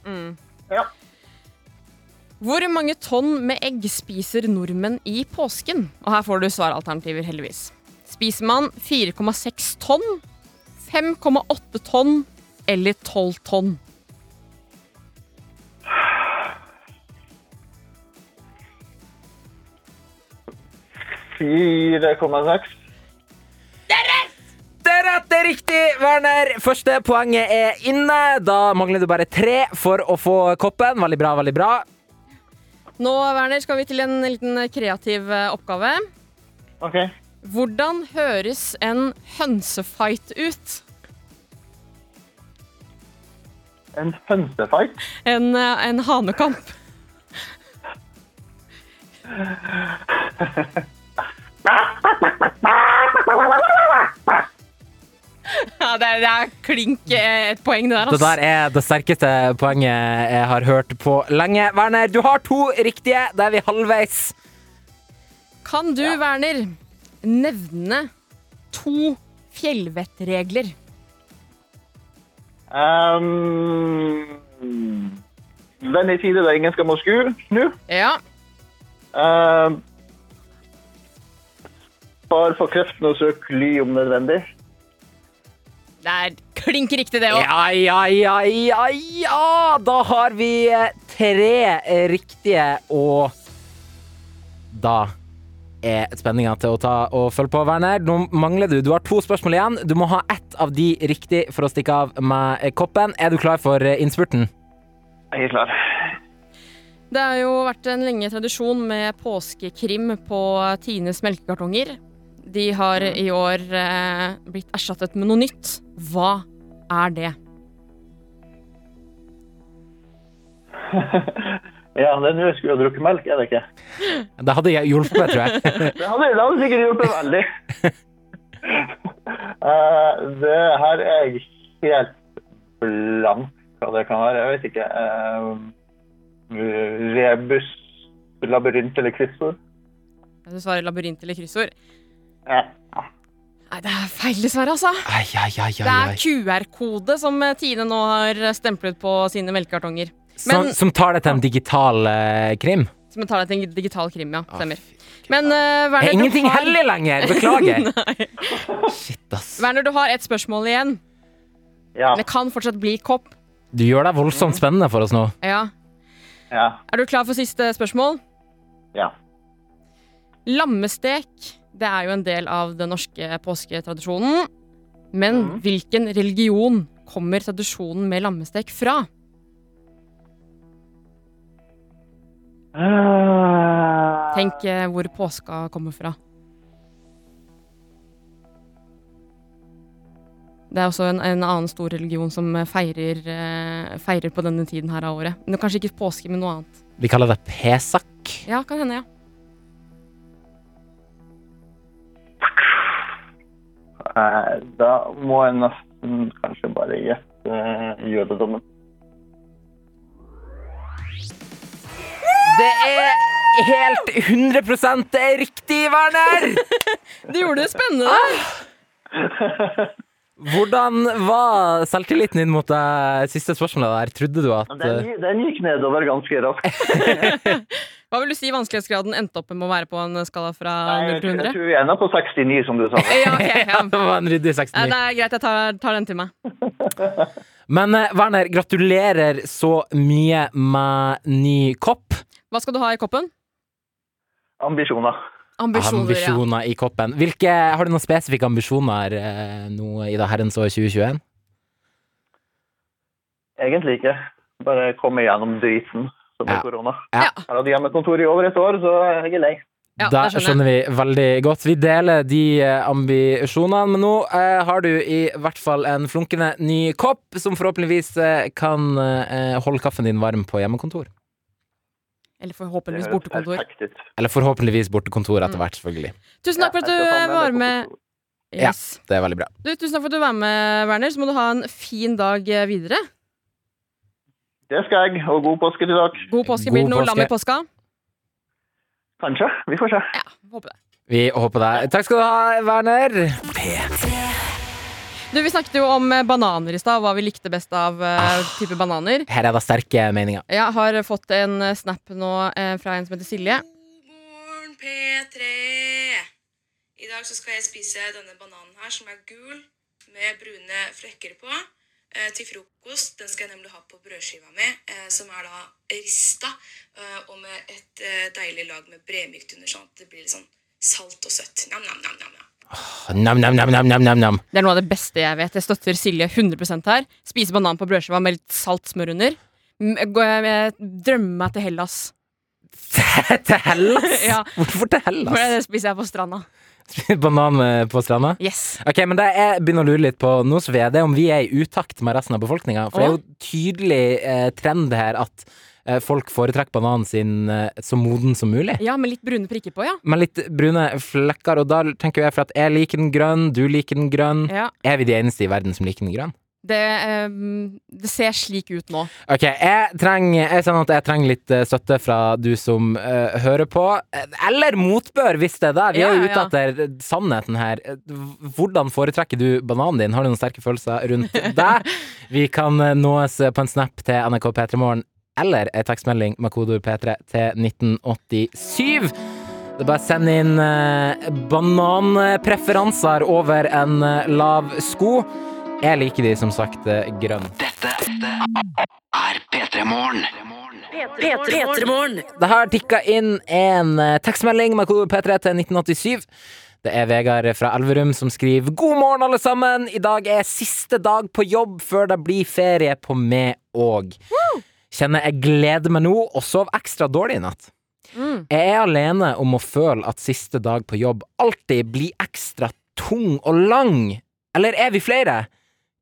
[SPEAKER 3] Hvor mange tonn med egg spiser nordmenn i påsken? Og her får du svaralternativer, heldigvis. Spiser man 4,6 tonn, 5,8 tonn eller 12 tonn?
[SPEAKER 7] ja. 4,6.
[SPEAKER 2] Det er rett, det er riktig, Werner. Første poenget er inne. Da mangler du bare tre for å få koppen. Veldig bra, veldig bra.
[SPEAKER 3] Nå, Werner, skal vi til en liten kreativ eh, oppgave.
[SPEAKER 7] Ok.
[SPEAKER 3] Hvordan høres en hønsefight ut?
[SPEAKER 7] En hønsefight.
[SPEAKER 3] En, eh, en hanekamp. Ja, det er, det er klink eh, et poeng, det der.
[SPEAKER 2] Det
[SPEAKER 3] ass.
[SPEAKER 2] der er det sterkeste poenget jeg har hørt på lenge. Werner, du har to riktige. Da er vi halvveis.
[SPEAKER 3] Kan du, Werner, nevne to fjellvettregler?
[SPEAKER 7] Um, Vend i tide der ingen skal må sku. Snu.
[SPEAKER 3] Ja.
[SPEAKER 7] Um, spar for kreftene og søk ly om nødvendig.
[SPEAKER 3] Det er klink riktig, det òg.
[SPEAKER 2] Ja, ja, ja, ja, ja. Da har vi eh, tre eh, riktige, og da er spenninga til å ta og følge på, Werner. Nå mangler du. Du har to spørsmål igjen. Du må ha ett av de riktig for å stikke av med eh, koppen. Er du klar for eh, innspurten?
[SPEAKER 7] Jeg er klar. (laughs)
[SPEAKER 3] Det har jo vært en lenge tradisjon med påskekrim på Tines melkekartonger. De har i år eh, blitt erstattet med noe nytt. Hva er det?
[SPEAKER 7] Ja, det er nå jeg skulle ha drukket melk, er det ikke?
[SPEAKER 2] Det hadde jeg hjulpet meg, tror jeg.
[SPEAKER 3] (laughs)
[SPEAKER 7] Det hadde, det hadde sikkert hjulpet veldig. (laughs) Eh, det her er jeg helt blank hva det kan være. Jeg vet ikke. Eh, rebus, labyrint eller kryssord?
[SPEAKER 3] Du svarer labyrint eller kryssord.
[SPEAKER 7] Ja.
[SPEAKER 3] Nei, det er feil, dessverre, altså.
[SPEAKER 2] Ai, ai, ai,
[SPEAKER 3] Det er
[SPEAKER 2] ai, ai.
[SPEAKER 3] QR-kode som eh, Tine nå har stemplet på sine melkekartonger.
[SPEAKER 2] Som,
[SPEAKER 3] Men-
[SPEAKER 2] som tar det til en digital eh, krim.
[SPEAKER 3] Som tar deg til en digital krim, ja. Stemmer.
[SPEAKER 2] fy
[SPEAKER 3] Men eh,
[SPEAKER 2] Det
[SPEAKER 3] Werner,
[SPEAKER 2] er ingenting
[SPEAKER 3] du har,
[SPEAKER 2] hellig lenger! Beklager.
[SPEAKER 3] (laughs)
[SPEAKER 2] Shit, ass.
[SPEAKER 3] Werner, du har et spørsmål igjen.
[SPEAKER 7] Ja.
[SPEAKER 3] Det kan fortsatt bli kopp.
[SPEAKER 2] Du gjør deg voldsomt spennende for oss nå.
[SPEAKER 3] Ja.
[SPEAKER 7] ja.
[SPEAKER 3] Er du klar for siste spørsmål?
[SPEAKER 7] Ja.
[SPEAKER 3] Lammestek det er jo en del av den norske påsketradisjonen. Men hvilken religion kommer tradisjonen med lammestek fra?
[SPEAKER 7] Eh,
[SPEAKER 3] Tenk eh, hvor påska kommer fra. Det er også en, en annen stor religion som eh, feirer, eh, feirer på denne tiden her av året. Men kanskje ikke påske, men noe annet.
[SPEAKER 2] Vi kaller det pesak.
[SPEAKER 3] Ja, kan hende, ja.
[SPEAKER 7] eh, da må jeg nesten kanskje bare gjette eh, jødedommen.
[SPEAKER 2] Det er helt 100 det er riktig, Werner!
[SPEAKER 3] Du gjorde det spennende!
[SPEAKER 2] Hvordan var selvtilliten din mot det siste spørsmålet der? Trodde du at
[SPEAKER 7] Den,
[SPEAKER 2] eh,
[SPEAKER 7] den gikk nedover ganske raskt.
[SPEAKER 3] Hva vil du si vanskelighetsgraden endte opp med å være på en skala fra
[SPEAKER 7] Jeg,
[SPEAKER 3] 0 til
[SPEAKER 7] jeg
[SPEAKER 3] 100?
[SPEAKER 7] tror vi ender på 69, som du (laughs) sa.
[SPEAKER 3] Ja,
[SPEAKER 2] (laughs)
[SPEAKER 3] ok, ja.
[SPEAKER 2] eh, det var en ryddig
[SPEAKER 3] Nei,
[SPEAKER 2] 69?
[SPEAKER 3] Det er greit, jeg tar, tar den til meg.
[SPEAKER 2] Men eh, Werner, gratulerer så mye med ny kopp.
[SPEAKER 3] Hva skal du ha i koppen?
[SPEAKER 7] Ambisjoner.
[SPEAKER 3] Ambisjoner. ja.
[SPEAKER 2] Ambisjoner i koppen. Hvilke, har du noen spesifikke ambisjoner eh, nå i det herrens år 2021?
[SPEAKER 7] Egentlig ikke. Bare komme gjennom driten som
[SPEAKER 2] Ja.
[SPEAKER 7] er korona.
[SPEAKER 2] Ja.
[SPEAKER 7] Jeg har hatt hjemmekontor i over et år, så jeg er ikke lei.
[SPEAKER 3] Ja,
[SPEAKER 2] Da
[SPEAKER 3] det skjønner jeg.
[SPEAKER 2] skjønner vi veldig godt. Vi deler de eh, ambisjonene, men nå eh, har du i hvert fall en flunkende ny kopp, som forhåpentligvis eh, kan eh, holde kaffen din varm på hjemmekontor.
[SPEAKER 3] Eller
[SPEAKER 7] Det
[SPEAKER 3] forhåpentligvis
[SPEAKER 7] høres
[SPEAKER 3] bortekontor.
[SPEAKER 7] perfekt ut.
[SPEAKER 2] Eller forhåpentligvis bortekontor etter
[SPEAKER 3] Mm.
[SPEAKER 2] hvert, selvfølgelig.
[SPEAKER 3] Tusen takk for at
[SPEAKER 7] Ja,
[SPEAKER 3] du
[SPEAKER 7] jeg skal
[SPEAKER 3] eh,
[SPEAKER 7] ta med
[SPEAKER 3] var
[SPEAKER 7] meg
[SPEAKER 3] med.
[SPEAKER 7] bortekontor.
[SPEAKER 2] Ja.
[SPEAKER 3] Yes.
[SPEAKER 2] Det er veldig bra.
[SPEAKER 3] Du, tusen takk for at du var med, Werner. Så må du ha en fin dag eh, videre.
[SPEAKER 7] Det skal jeg, og god påske til dere.
[SPEAKER 3] God påske.
[SPEAKER 2] God
[SPEAKER 3] Blir det noe
[SPEAKER 2] påske.
[SPEAKER 3] lam i påska?
[SPEAKER 7] Kanskje. Vi får se.
[SPEAKER 3] Ja, håper det.
[SPEAKER 2] Vi håper det. Takk skal du ha, Werner.
[SPEAKER 3] Du, Vi snakket jo om eh, bananer i stad, hva vi likte best av eh, type bananer.
[SPEAKER 2] Her er det sterke meninger.
[SPEAKER 3] Jeg har fått en eh, snap nå eh, fra en som heter Silje.
[SPEAKER 6] morgen, P3. I dag så skal jeg spise denne bananen her, som er gul med brune flekker på, eh, til frokost. Den skal jeg nemlig ha på brødskiva mi, eh, som er da rista, eh, og med et eh, deilig lag med bremykt under, sånn at det blir litt sånn salt og søtt. Nam, nam, nam, nam, nam.
[SPEAKER 2] Nam-nam-nam-nam-nam.
[SPEAKER 3] Det er noe av det beste jeg vet. Jeg støtter Silje 100 her. Spise banan på brødskiva med litt salt smør under. Mm, jeg går- Jeg drømmer meg til Hellas.
[SPEAKER 2] (laughs) Til Hellas?
[SPEAKER 3] (laughs) Ja.
[SPEAKER 2] Hvorfor til
[SPEAKER 3] For
[SPEAKER 2] Hellas?
[SPEAKER 3] det spiser jeg på stranda.
[SPEAKER 2] (laughs) Banan eh, på stranda?
[SPEAKER 3] Yes.
[SPEAKER 2] Ok, men det jeg begynner å lure litt på nå, Sofie, det er om vi er i utakt med resten av befolkninga. For det er jo tydelig eh, trend her at eh, folk foretrekker bananen sin eh, så moden som mulig.
[SPEAKER 3] Ja, med litt brune prikker på, ja.
[SPEAKER 2] Med litt brune flekker, og da tenker jo jeg for at jeg liker den grønn, du liker den grønn.
[SPEAKER 3] ja.
[SPEAKER 2] Er vi de eneste i verden som liker den grønn?
[SPEAKER 3] Det, eh, det ser slik ut nå.
[SPEAKER 2] Ok, jeg trenger, jeg kjenner at jeg trenger litt eh, støtte fra du som eh, hører på. Eh, Eller motbør, hvis det er der. Vi er
[SPEAKER 3] Ja,
[SPEAKER 2] jo
[SPEAKER 3] ja.
[SPEAKER 2] ute etter eh, sannheten her. Eh, h- Hvordan foretrekker du bananen din? Har du noen sterke følelser
[SPEAKER 3] (laughs)
[SPEAKER 2] rundt deg? Vi kan eh, nås eh, på en snap til NRK P3 Morgen eller ei tekstmelding med kodeord P3 til 1987. Det er bare å sende inn eh, bananpreferanser over en eh, lav sko. Jeg liker de som sagt eh, grønn.
[SPEAKER 5] Er P3 Morgen.
[SPEAKER 2] Det har tikka inn en eh, tekstmelding med kode P3 til 1987. Det er Vegard fra Elverum som skriver God morgen, alle sammen! I dag er siste dag på jobb før det blir ferie på meg òg. Kjenner jeg gleder meg nå, og sov ekstra dårlig i natt.
[SPEAKER 3] Mm.
[SPEAKER 2] Jeg er alene om å føle at siste dag på jobb alltid blir ekstra tung og lang. Eller er vi flere?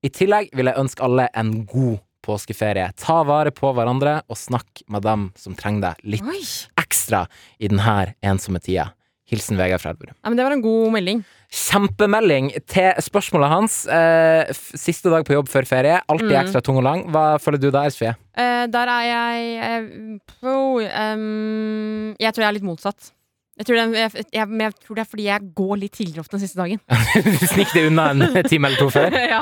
[SPEAKER 2] I tillegg vil jeg ønske alle en god påskeferie. Ta vare på hverandre, og snakk med dem som trenger deg litt
[SPEAKER 3] Oi.
[SPEAKER 2] ekstra i denne ensomme tida. Hilsen Vegard fra Elverum.
[SPEAKER 3] Ja, men det var en god melding.
[SPEAKER 2] Kjempemelding til spørsmålet hans. Eh, f- siste dag på jobb før ferie. Alltid
[SPEAKER 3] Mm.
[SPEAKER 2] ekstra tung og lang. Hva føler du der, Sofie? (laughs)
[SPEAKER 3] Eh, der er jeg eh, på, ehm, Jeg tror jeg er litt motsatt. Jeg tror, det, er- jeg, jeg, men jeg tror det er fordi jeg går litt tidligere opp den siste dagen.
[SPEAKER 2] Snikk deg unna en (laughs) time eller to før.
[SPEAKER 3] (laughs) ja.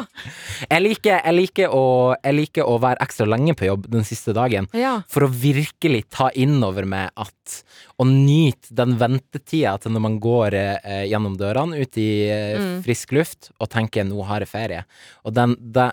[SPEAKER 2] Jeg liker, jeg, liker å, jeg liker å være ekstra lenge på jobb den siste dagen.
[SPEAKER 3] Ja.
[SPEAKER 2] For å virkelig ta innover meg at Å nyte den ventetida til når man går eh, gjennom dørene ut i eh,
[SPEAKER 3] Mm.
[SPEAKER 2] frisk luft og tenker 'nå har jeg ferie'. Og den, det,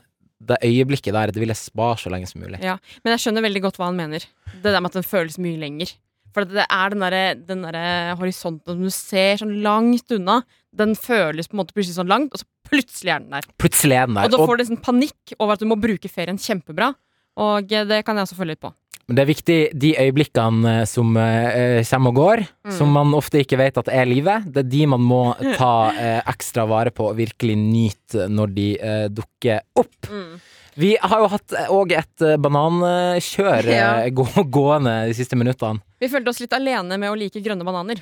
[SPEAKER 2] det øyeblikket der, det vil jeg spare så lenge som mulig.
[SPEAKER 3] Men jeg skjønner veldig godt hva han mener. Det der med at den føles mye lenger. For det er den derre den derre horisonten som du ser sånn langt unna, den føles på en måte plutselig sånn langt, og så plutselig er den der.
[SPEAKER 2] Plutselig er den
[SPEAKER 3] Og
[SPEAKER 2] der.
[SPEAKER 3] da
[SPEAKER 2] Og
[SPEAKER 3] får du sånn panikk over at du må bruke ferien kjempebra. Og eh, det kan jeg også følge litt på.
[SPEAKER 2] det er viktig, de øyeblikkene eh, som eh, kommer og går,
[SPEAKER 3] Mm.
[SPEAKER 2] som man ofte ikke vet at er livet, det er de man må ta eh, ekstra vare på og virkelig nyte når de eh, dukker opp.
[SPEAKER 3] Mm.
[SPEAKER 2] Vi har jo hatt òg et eh, banankjør eh, gå- gående de siste minuttene.
[SPEAKER 3] Vi følte oss litt alene med å like grønne bananer.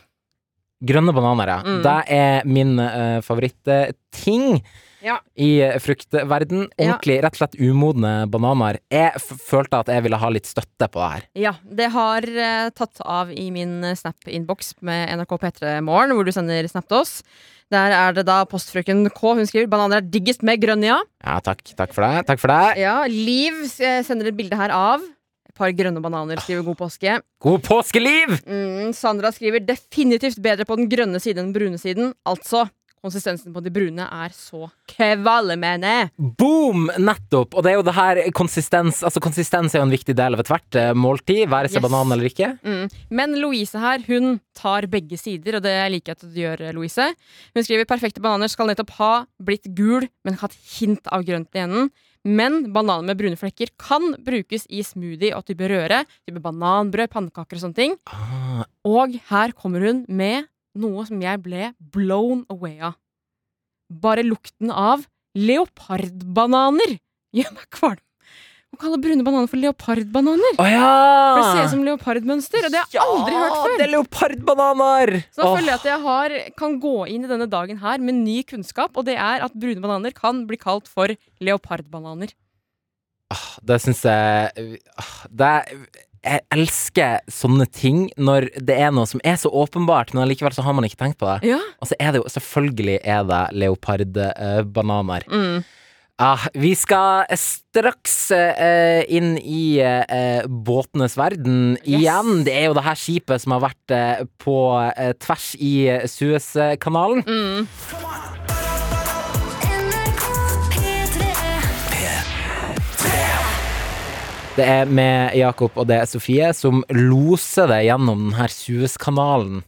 [SPEAKER 2] Grønne bananer, ja.
[SPEAKER 3] Mm.
[SPEAKER 2] Det er min uh, favorittting
[SPEAKER 3] Ja.
[SPEAKER 2] i eh, fruktverden.
[SPEAKER 3] Ja.
[SPEAKER 2] Ordentlig, rett og slett umodne bananer. Jeg f følte at jeg ville ha litt støtte på det her.
[SPEAKER 3] Ja, Det har eh, tatt av i min eh, Snap-innboks med NRK P3 Morgen, hvor du sender Snap til oss. Der er det da postfrøken K. Hun skriver bananer er diggest med grønn, ja.
[SPEAKER 2] Ja, takk. Takk for det. Takk for det.
[SPEAKER 3] Ja, Liv eh, sender et bilde her av et par grønne bananer. Skriver god påske.
[SPEAKER 2] God påskeliv!
[SPEAKER 3] Mm, Sandra skriver definitivt bedre på den grønne siden enn den brune siden. Altså, konsistensen på de brune er så kvalmende.
[SPEAKER 2] Boom! Nettopp. Og det er jo det her konsistens Altså, konsistens er jo en viktig del av ethvert eh, måltid, være seg
[SPEAKER 3] Yes.
[SPEAKER 2] banan eller ikke.
[SPEAKER 3] Mm. Men Louise her, hun tar begge sider, og det liker jeg at du gjør, Louise. Hun skriver perfekte bananer skal nettopp ha blitt gul, men hatt hint av grønt i enden. Men bananer med brune flekker kan brukes i smoothie og type røre. Type bananbrød, pannekaker og sånne ting.
[SPEAKER 2] Ah,
[SPEAKER 3] Og her kommer hun med noe som jeg ble blown away av. Bare lukten av leopardbananer (laughs) gjør meg kvalm. Hun kaller brune bananer for leopardbananer.
[SPEAKER 2] Å ja!
[SPEAKER 3] For det ser ut som leopardmønster, og det har jeg aldri hørt før.
[SPEAKER 2] Ja, det er leopardbananer!
[SPEAKER 3] Så da
[SPEAKER 2] Åh.
[SPEAKER 3] føler jeg at jeg har, kan gå inn i denne dagen her med ny kunnskap, og det er at brune bananer kan bli kalt for leopardbananer.
[SPEAKER 2] Ah, Det syns jeg ah, det, Jeg elsker sånne ting når det er noe som er så åpenbart, men allikevel så har man ikke tenkt på det.
[SPEAKER 3] Ja.
[SPEAKER 2] Og så Altså, er det jo selvfølgelig er det leopardbananer.
[SPEAKER 3] Mm.
[SPEAKER 2] Ah, vi skal straks eh, inn i eh, båtenes verden
[SPEAKER 1] Yes.
[SPEAKER 2] igjen. Det er jo det her skipet som har vært eh, på eh, tvers i Suezkanalen.
[SPEAKER 3] Mm.
[SPEAKER 2] Det er med Jakob og det er Sofie som loser deg gjennom denne Suezkanalen.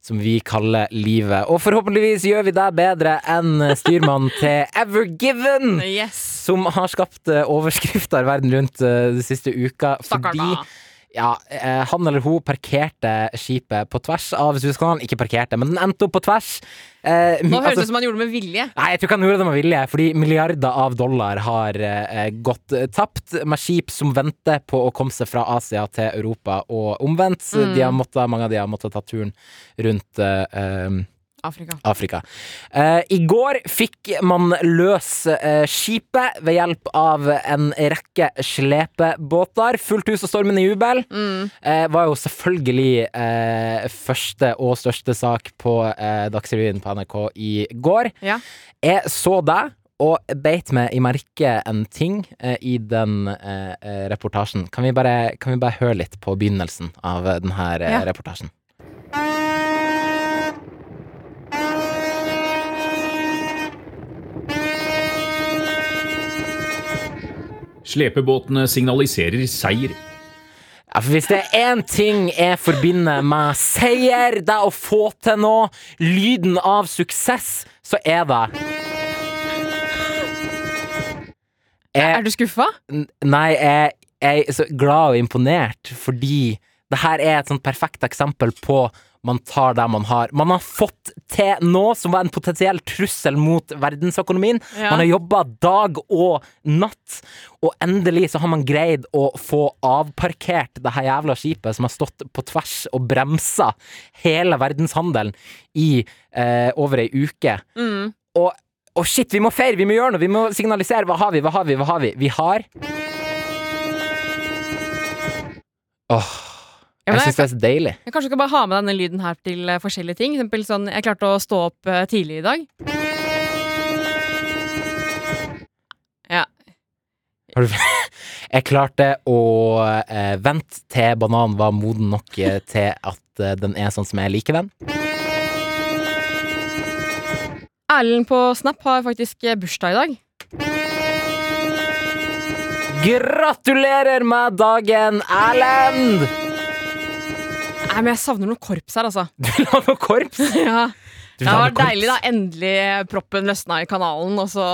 [SPEAKER 2] Som vi kaller livet. Og forhåpentligvis gjør vi deg bedre enn styrmannen til Evergiven!
[SPEAKER 3] Yes.
[SPEAKER 2] Som har skapt eh, overskrifter verden rundt eh, de siste uka.
[SPEAKER 3] Stakkars
[SPEAKER 2] fordi
[SPEAKER 3] da.
[SPEAKER 2] ja, eh, han eller hun parkerte skipet på tvers av Suezkanalen. Ikke parkerte, men den endte opp på tvers. Eh,
[SPEAKER 3] Nå høres det
[SPEAKER 2] altså-
[SPEAKER 3] ut som han gjorde det med vilje.
[SPEAKER 2] Nei, jeg tror ikke han gjorde det med vilje, fordi milliarder av dollar har eh, gått eh, tapt med skip som venter på å komme seg fra Asia til Europa og omvendt.
[SPEAKER 3] Mm.
[SPEAKER 2] De har måttet, mange av de har måttet ta turen rundt eh, eh,
[SPEAKER 3] Afrika.
[SPEAKER 2] Afrika. Eh, I går fikk man løs eh, skipet ved hjelp av en rekke slepebåter. Fullt hus og stormen i jubel
[SPEAKER 3] Mm.
[SPEAKER 2] eh, var jo selvfølgelig eh, første og største sak på eh, Dagsrevyen på NRK i går.
[SPEAKER 3] Ja.
[SPEAKER 2] Jeg så deg og beit meg i merket en ting eh, i den eh, eh, reportasjen. Kan vi, bare, kan vi bare høre litt på begynnelsen av eh, den her eh,
[SPEAKER 3] Ja.
[SPEAKER 2] reportasjen?
[SPEAKER 8] Slepebåtene signaliserer seier.
[SPEAKER 2] Ja, for Hvis det er én ting jeg forbinder med seier, det å få til noe, lyden av suksess, så er det Jeg-
[SPEAKER 3] Er du skuffa?
[SPEAKER 2] N- Nei, jeg, jeg er så glad og imponert fordi det her er et sånt perfekt eksempel på man tar det man har. Man har fått til noe som var en potensiell trussel mot verdensøkonomien.
[SPEAKER 3] Ja.
[SPEAKER 2] Man har jobba dag og natt, og endelig så har man greid å få avparkert det her jævla skipet som har stått på tvers og bremsa hele verdenshandelen i eh, over ei uke.
[SPEAKER 3] Mm.
[SPEAKER 2] Og, og shit, vi må feire, vi må gjøre noe, vi må signalisere. Hva har vi, hva har vi, hva har vi? Vi har Åh,
[SPEAKER 3] Ja, men
[SPEAKER 2] jeg syns det er så deilig.
[SPEAKER 3] Jeg kanskje skal bare ha med denne lyden her til eh, forskjellige ting. For eksempel sånn, jeg klarte å stå opp eh, tidlig i dag. Ja.
[SPEAKER 2] Jeg klarte å eh, vente til bananen var moden nok eh, til at eh, den er sånn som jeg liker den.
[SPEAKER 3] Erlend på Snap har faktisk eh, bursdag i dag.
[SPEAKER 2] Gratulerer med dagen, Erlend! (laughs)
[SPEAKER 3] Nei, men jeg savner noe korps her, altså.
[SPEAKER 2] Du vil ha noe korps?
[SPEAKER 3] ja. Det
[SPEAKER 2] Du vil ha
[SPEAKER 3] var
[SPEAKER 2] noe korps?
[SPEAKER 3] deilig, da. Endelig proppen løsna i kanalen, og så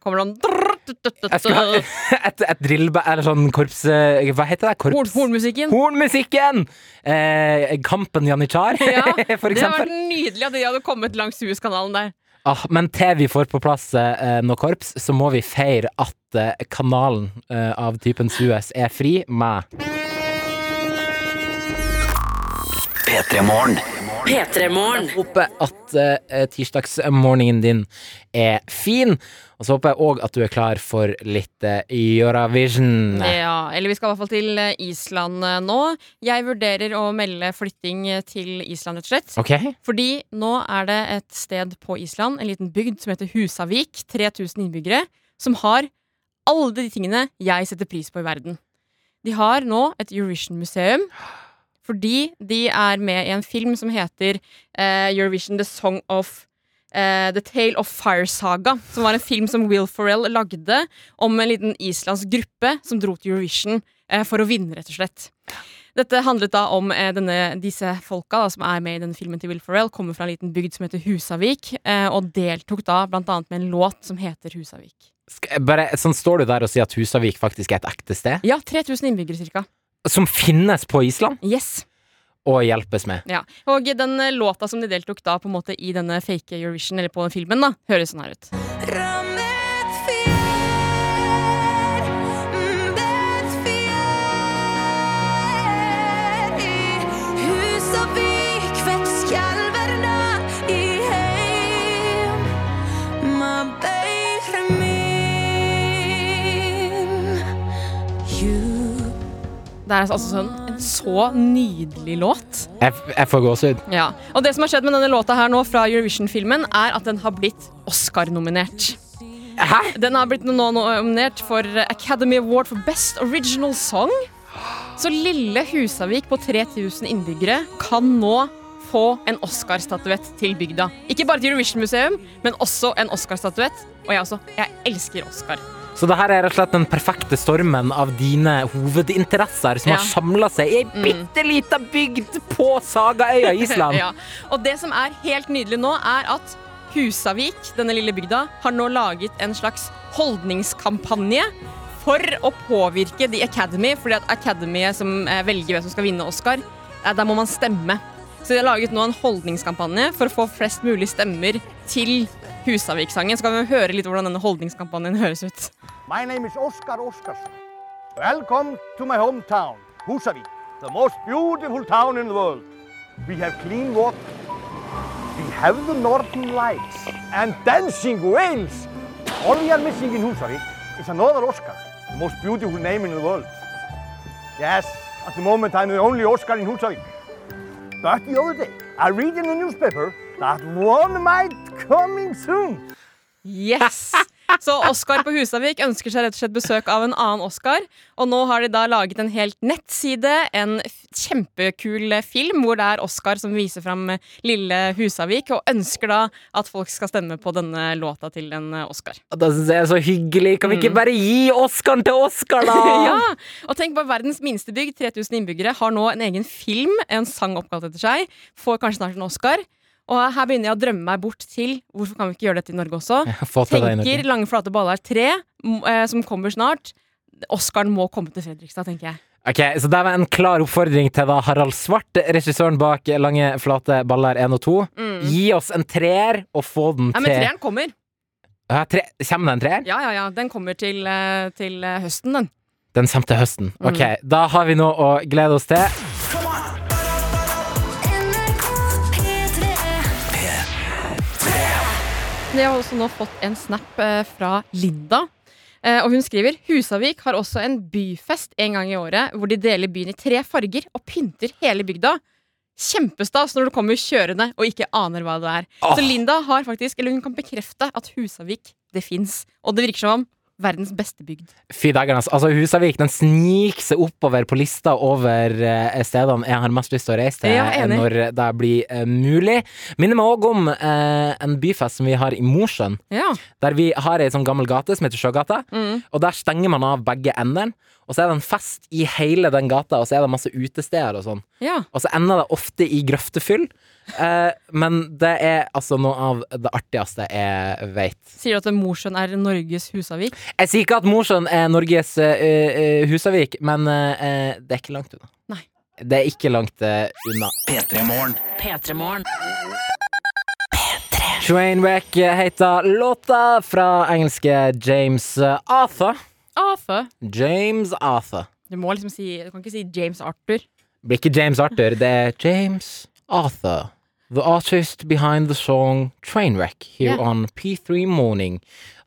[SPEAKER 3] kommer det
[SPEAKER 2] Jeg skulle
[SPEAKER 3] sånn
[SPEAKER 2] ha et, et drillba... Eller sånn korps... eh, Hva heter det?
[SPEAKER 3] Horn-
[SPEAKER 2] Korps...
[SPEAKER 3] Hornmusikken.
[SPEAKER 2] Hornmusikken! Eh, kampen Janitsjar,
[SPEAKER 3] Ja,
[SPEAKER 2] (laughs) for
[SPEAKER 3] Det var
[SPEAKER 2] eksempel.
[SPEAKER 3] nydelig at de hadde kommet langs Suezkanalen der.
[SPEAKER 2] Ah, men til vi får på plass eh, noe korps, så må vi feire at eh, kanalen eh, av typen Suez er fri med
[SPEAKER 5] P3-morgen.
[SPEAKER 2] Jeg håper at eh, tirsdagsmorgenen din er fin. Og så håper jeg òg at du er klar for litt eh, Eurovision.
[SPEAKER 3] Ja, eller vi skal i hvert fall til eh, Island eh, nå. Jeg vurderer å melde flytting eh, til Island, rett og slett.
[SPEAKER 2] OK?
[SPEAKER 3] Fordi nå er det et sted på Island, en liten bygd som heter Husavik, 3000 innbyggere, som har alle de tingene jeg setter pris på i verden. De har nå et Eurovision-museum, fordi de er med i en film som heter eh, Eurovision The Song of eh, The Tale of Fire Saga, som var en film som Will Ferrell lagde om en liten islandsk gruppe som dro til Eurovision eh, for å vinne, rett og slett. Dette handlet da om eh, denne, disse folka da, som er med i denne filmen til Will Ferrell, kommer fra en liten bygd som heter Husavik, eh, og deltok da blant annet med en låt som heter Husavik.
[SPEAKER 2] Skal jeg Bare, sånn står du der og sier at Husavik faktisk er et ekte sted?
[SPEAKER 3] Ja, 3000 innbyggere cirka.
[SPEAKER 2] Som finnes på Island,
[SPEAKER 3] Yes.
[SPEAKER 2] og hjelpes med.
[SPEAKER 3] Ja. Og den eh, låta som de deltok da på en måte i denne fake Eurovision, eller på den filmen, da, høres sånn her ut. Det er altså- altså sånn en så nydelig låt.
[SPEAKER 2] Jeg, jeg får gåsehud.
[SPEAKER 3] Ja, og det som har skjedd med denne låta her nå fra Eurovision-filmen, er at den har blitt Oscar-nominert.
[SPEAKER 2] Hæ?
[SPEAKER 3] Den har blitt nå nominert for Academy Award for Best Original Song. Så lille Husavik på 3000 innbyggere kan nå få en Oscar-statuett til bygda. Ikke bare til Eurovision-museum, men også en Oscar-statuett. Og jeg også. Jeg elsker Oscar.
[SPEAKER 2] Så det her er rett og slett den perfekte stormen av dine hovedinteresser som
[SPEAKER 3] Ja. Mm.
[SPEAKER 2] har samla seg i ei bitte lita bygd
[SPEAKER 3] (laughs)
[SPEAKER 2] på Sagaøya (laughs) Island.
[SPEAKER 3] Ja. Og det som er helt nydelig nå, er at Husavik, denne lille bygda, har nå laget en slags holdningskampanje for å påvirke The Academy, fordi at Academyet som eh, velger hvem som skal vinne Oscar, eh, der må man stemme. Så de har laget nå en holdningskampanje for å få flest mulig stemmer til Husavik-sangen. Så kan vi høre litt hvordan denne holdningskampanjen høres ut.
[SPEAKER 8] My name is Oscar Oscarsson. Welcome to my hometown, Husavik, the most beautiful town in the world. We have clean water, we have the northern lights, and dancing whales. All we are missing in Husavik is another Oscar, the most beautiful name in the world. Yes, at the moment I'm the only Oscar in Husavik. But the other day, I read in the newspaper that one might coming soon.
[SPEAKER 3] Yes! Så Oskar på Husavik ønsker seg rett og slett besøk av en annen Oskar. Og nå har de da laget en helt nettside, en f- kjempekul eh, film, hvor det er Oskar som viser fram eh, lille Husavik, og ønsker da at folk skal stemme på denne låta til en eh, Oskar.
[SPEAKER 2] Og Det syns jeg er så hyggelig. Kan vi ikke bare gi Oscaren til Oscar, da?
[SPEAKER 3] Mm. (laughs) Ja! Og tenk på verdens minste bygd, 3000 innbyggere, har nå en egen film, en sang oppkalt etter seg. Får kanskje snart en Oskar. Og her begynner jeg å drømme meg bort til Hvorfor kan vi ikke gjøre dette i Norge også?
[SPEAKER 2] Få til det,
[SPEAKER 3] tenker
[SPEAKER 2] Norge.
[SPEAKER 3] Lange flate baller 3, m- eh, som kommer snart. Oscaren må komme til Fredrikstad, tenker jeg.
[SPEAKER 2] Ok, Så det var en klar oppfordring til da Harald Svart, regissøren bak Lange flate baller 1 og 2. Gi oss en treer og få den
[SPEAKER 3] Nei,
[SPEAKER 2] til
[SPEAKER 3] Mm. men treeren kommer.
[SPEAKER 2] Ja, tre... Kommer det en treer?
[SPEAKER 3] Ja, ja, ja. Den kommer til, eh, til eh, høsten, den.
[SPEAKER 2] Den kommer til høsten. Ok,
[SPEAKER 3] Mm.
[SPEAKER 2] Da har vi noe å glede oss til.
[SPEAKER 3] Vi har også nå fått en snap eh, fra Linda. Eh, Og hun skriver Husavik har også en byfest en gang i året hvor de deler byen i tre farger og pynter hele bygda. Kjempestas når du kommer kjørende og ikke aner hva det er.
[SPEAKER 2] Åh.
[SPEAKER 3] Så Linda har faktisk, eller hun kan bekrefte at Husavik det fins. Og det virker som om verdens beste bygd.
[SPEAKER 2] Fy dagerne, altså. altså. Husavik den sniker seg oppover på lista over eh, stedene jeg har mest lyst til å reise til
[SPEAKER 3] Ja, enig.
[SPEAKER 2] når det blir eh, mulig. Minner meg òg om eh, en byfest som vi har i Mosjøen.
[SPEAKER 3] Ja.
[SPEAKER 2] Der vi har ei sånn gammel gate som heter Sjøgata.
[SPEAKER 3] Mm.
[SPEAKER 2] Og der stenger man av begge endene. Og så er det en fest i hele den gata, og så er det masse utesteder og sånn.
[SPEAKER 3] ja.
[SPEAKER 2] Og så ender det ofte i grøftefyll. Eh, men det er altså noe av det artigste jeg veit.
[SPEAKER 3] Sier du at Mosjøen er Norges Husavik?
[SPEAKER 2] Jeg sier ikke at Mosjøen er Norges eh, eh, Husavik, men eh, eh, det er ikke langt unna.
[SPEAKER 3] Nei.
[SPEAKER 2] Det er ikke langt eh, unna.
[SPEAKER 1] P3morgen.
[SPEAKER 2] Trainwreck heter låta fra engelske James Arthur.
[SPEAKER 3] Afø.
[SPEAKER 2] James Arthur.
[SPEAKER 3] Du må liksom si Du kan ikke si James Arthur.
[SPEAKER 2] Det blir ikke James Arthur, det er James Arthur. The artist behind the song Trainwreck here
[SPEAKER 3] Yeah.
[SPEAKER 2] on P3 Morning.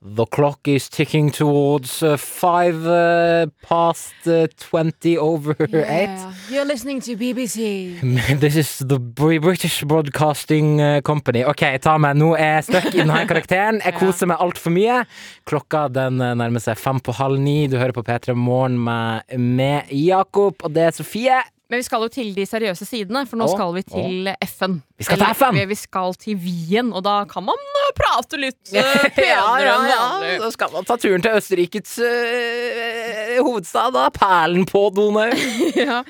[SPEAKER 2] The clock is ticking towards uh, five uh, past uh, 20 over (laughs) eight.
[SPEAKER 1] You're listening to BBC.
[SPEAKER 2] (laughs) This is the Br- British Broadcasting uh, Company. Ok, ta meg. Nå er jeg stuck i denne karakteren. Jeg koser meg altfor mye. Klokka den uh, nærmer seg fem på halv ni. Du hører på P3 Morgen med, med Jakob, og det er Sofie.
[SPEAKER 3] Men vi skal jo til de seriøse sidene, for nå
[SPEAKER 2] Å,
[SPEAKER 3] skal vi til FN.
[SPEAKER 2] Vi skal til
[SPEAKER 3] Eller,
[SPEAKER 2] FN.
[SPEAKER 3] vi- Vi skal til Wien, og da kan man eh, prate
[SPEAKER 2] (laughs)
[SPEAKER 3] litt eh, penere enn vanlig.
[SPEAKER 2] Så skal man ta turen til Østerrikes øh, hovedstad, da. Perlen på Donau. (laughs)
[SPEAKER 3] Ja.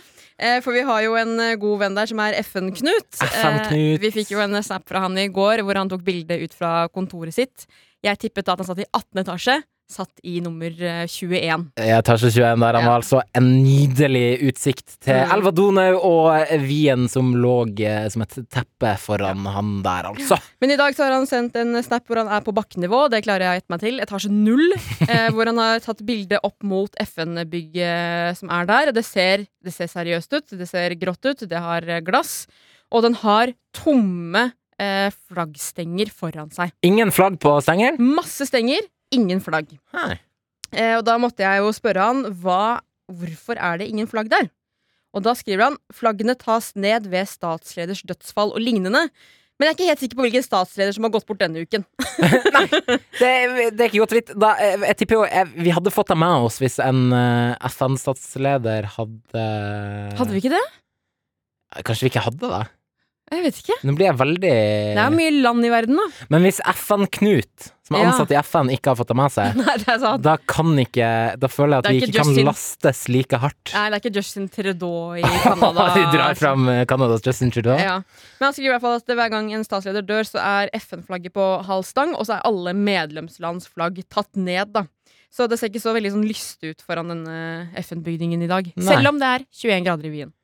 [SPEAKER 3] Eh, For vi har jo en eh, god venn der som er FN-Knut.
[SPEAKER 2] FN-Knut.
[SPEAKER 3] Eh, Vi fikk jo en snap fra han i går hvor han tok bilde ut fra kontoret sitt. Jeg tippet da at han satt i 18. etasje. satt i nummer eh, 21.
[SPEAKER 2] Etasje 21 der han
[SPEAKER 3] Ja.
[SPEAKER 2] har altså en nydelig utsikt til
[SPEAKER 3] Mm.
[SPEAKER 2] elva Donau og Wien som lå eh, som et teppe foran han der, altså.
[SPEAKER 3] Men i dag så har han sendt en snap hvor han er på bakkenivå. Det klarer jeg å gjette meg til. Etasje null. Eh, hvor han har tatt bilde opp mot FN-bygget som er der. Det ser, det ser seriøst ut. Det ser grått ut. Det har eh, glass. Og den har tomme eh, flaggstenger foran seg.
[SPEAKER 2] Ingen flagg på stengeren?
[SPEAKER 3] Masse stenger, ingen flagg.
[SPEAKER 2] Nei.
[SPEAKER 3] Eh, og da måtte jeg jo spørre han hva, hvorfor er det ingen flagg der. Og da skriver han flaggene tas ned ved statsleders dødsfall og lignende. Men jeg er ikke helt sikker på hvilken statsleder som har gått bort denne uken.
[SPEAKER 2] Det, det er ikke godt å vite. Da, øh, jeg, jeg tipper jo jeg, vi hadde fått det med oss hvis en eh, FN-statsleder hadde
[SPEAKER 3] Hadde vi ikke det?
[SPEAKER 2] Kanskje vi ikke hadde det?
[SPEAKER 3] Jeg vet ikke.
[SPEAKER 2] Nå blir jeg veldig
[SPEAKER 3] Det er mye land i verden, da. (laughs)
[SPEAKER 2] Men hvis FN-Knut, som er
[SPEAKER 3] Ja.
[SPEAKER 2] ansatt i FN, ikke har fått det med seg,
[SPEAKER 3] Nei, det er sant.
[SPEAKER 2] da kan ikke Da føler jeg at
[SPEAKER 3] Det er
[SPEAKER 2] vi
[SPEAKER 3] ikke
[SPEAKER 2] ikke kan
[SPEAKER 3] Justin.
[SPEAKER 2] lastes like hardt.
[SPEAKER 3] Nei, det er ikke Justin
[SPEAKER 2] (laughs)
[SPEAKER 3] Trudeau i Canada.
[SPEAKER 2] De drar fram eh, Canadas Justin Trudeau.
[SPEAKER 3] Ja. Men han skriver i hvert fall at hver gang en statsleder dør, så er FN-flagget på halv stang, og så er alle medlemslands flagg tatt ned, da. Så det ser ikke så veldig sånn lystig ut foran denne FN-bygningen i dag.
[SPEAKER 2] Nei.
[SPEAKER 3] Selv om det er 21 grader i Wien.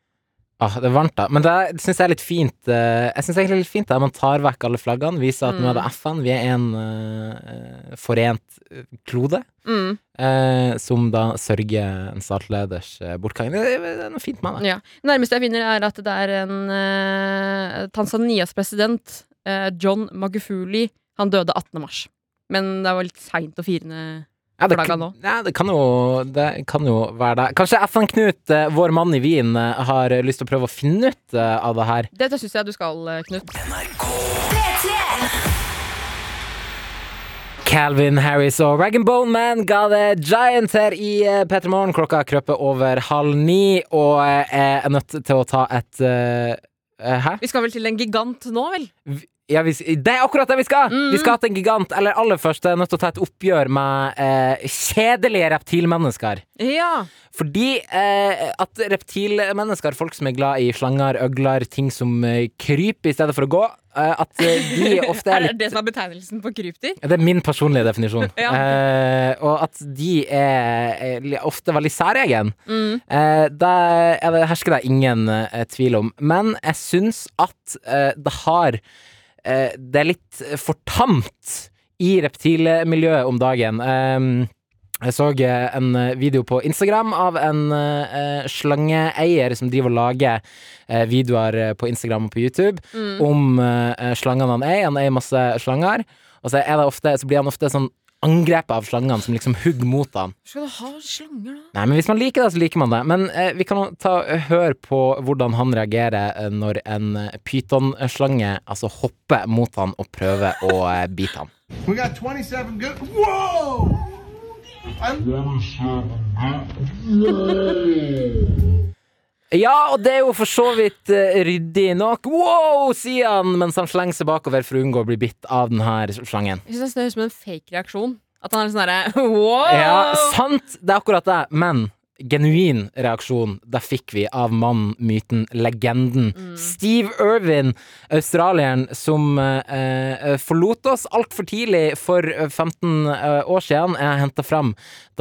[SPEAKER 2] Ah, det er varmt, da. Men det syns jeg er litt fint. eh, Jeg synes egentlig det er litt fint at man tar vekk alle flaggene, viser at
[SPEAKER 3] Mm.
[SPEAKER 2] nå er det FN, vi er en eh, eh, forent eh, klode.
[SPEAKER 3] Mm.
[SPEAKER 2] eh, som da sørger en statleders eh, bortgang. Det, det er noe fint med det.
[SPEAKER 3] Ja. Nærmeste jeg finner, er at det er en eh, Tanzanias president, eh, John Magufuli. Han døde 18. mars. Men det var litt seint å fire ned
[SPEAKER 2] Ja, det,
[SPEAKER 3] Flagga
[SPEAKER 2] kan,
[SPEAKER 3] nå.
[SPEAKER 2] ja, det, kan jo, det kan jo være det. Kanskje FN-Knut, eh, vår mann i Wien, eh, har lyst til å prøve å finne ut eh, av det her.
[SPEAKER 3] Dette syns jeg du skal, eh, Knut.
[SPEAKER 2] Calvin Harris og Rag Bone Man ga det giant her i eh, P3 Morgen. Klokka krøper over halv ni, og eh, jeg er nødt til å ta et eh, eh, Hæ?
[SPEAKER 3] Vi skal vel til en gigant nå, vel?
[SPEAKER 2] Ja, vi, det er akkurat det vi skal! Vi skal til en gigant. Eller aller først, jeg er nødt til å ta et oppgjør med eh, kjedelige reptilmennesker.
[SPEAKER 3] Ja.
[SPEAKER 2] Fordi eh, at reptilmennesker, folk som er glad i slanger, øgler, ting som eh, kryper i stedet for å gå, eh, at eh,
[SPEAKER 3] (laughs)
[SPEAKER 2] de ofte
[SPEAKER 3] Er
[SPEAKER 2] er
[SPEAKER 3] det
[SPEAKER 2] litt
[SPEAKER 3] det som er betegnelsen på krypdyr?
[SPEAKER 2] det er min personlige definisjon.
[SPEAKER 3] Ja.
[SPEAKER 2] Eh, og at de er, er li- ofte veldig særegen. Eh, det, er det hersker det ingen eh, tvil om. Men jeg syns at eh, det har eh, Det er litt for tamt i reptilmiljøet om dagen. Eh, jeg så eh, en eh, video på Instagram av en eh, eh, slangeeier som driver og lager eh, videoer eh, på Instagram og på YouTube om eh, eh, slangene han eier. Han eier masse slanger, og så, er det ofte, så blir han ofte sånn angrepet av slangene som liksom hugger mot han.
[SPEAKER 3] Skal du ha slanger, da?
[SPEAKER 2] Nei, men Hvis man liker det, så liker man det. Men eh, vi kan ta, høre på hvordan han reagerer eh, når en eh, pytonslange altså, hopper mot han og prøver å eh, bite han.
[SPEAKER 9] We got 27 good. Whoa!
[SPEAKER 2] Ja, og det er jo for så vidt eh, ryddig nok. Wow, sier han mens han slenger seg bakover for å unngå å bli bitt av denne slangen.
[SPEAKER 3] Jeg synes Det høres ut som en fake reaksjon. At han er sånn herre (laughs) wow!
[SPEAKER 2] Ja, sant, det er akkurat det. Men genuin reaksjon, det fikk vi av mannen, myten, legenden.
[SPEAKER 3] Mm.
[SPEAKER 2] Steve Irwin, australieren som eh, eh, forlot oss altfor tidlig for eh, 15 eh, år siden. Jeg henta fram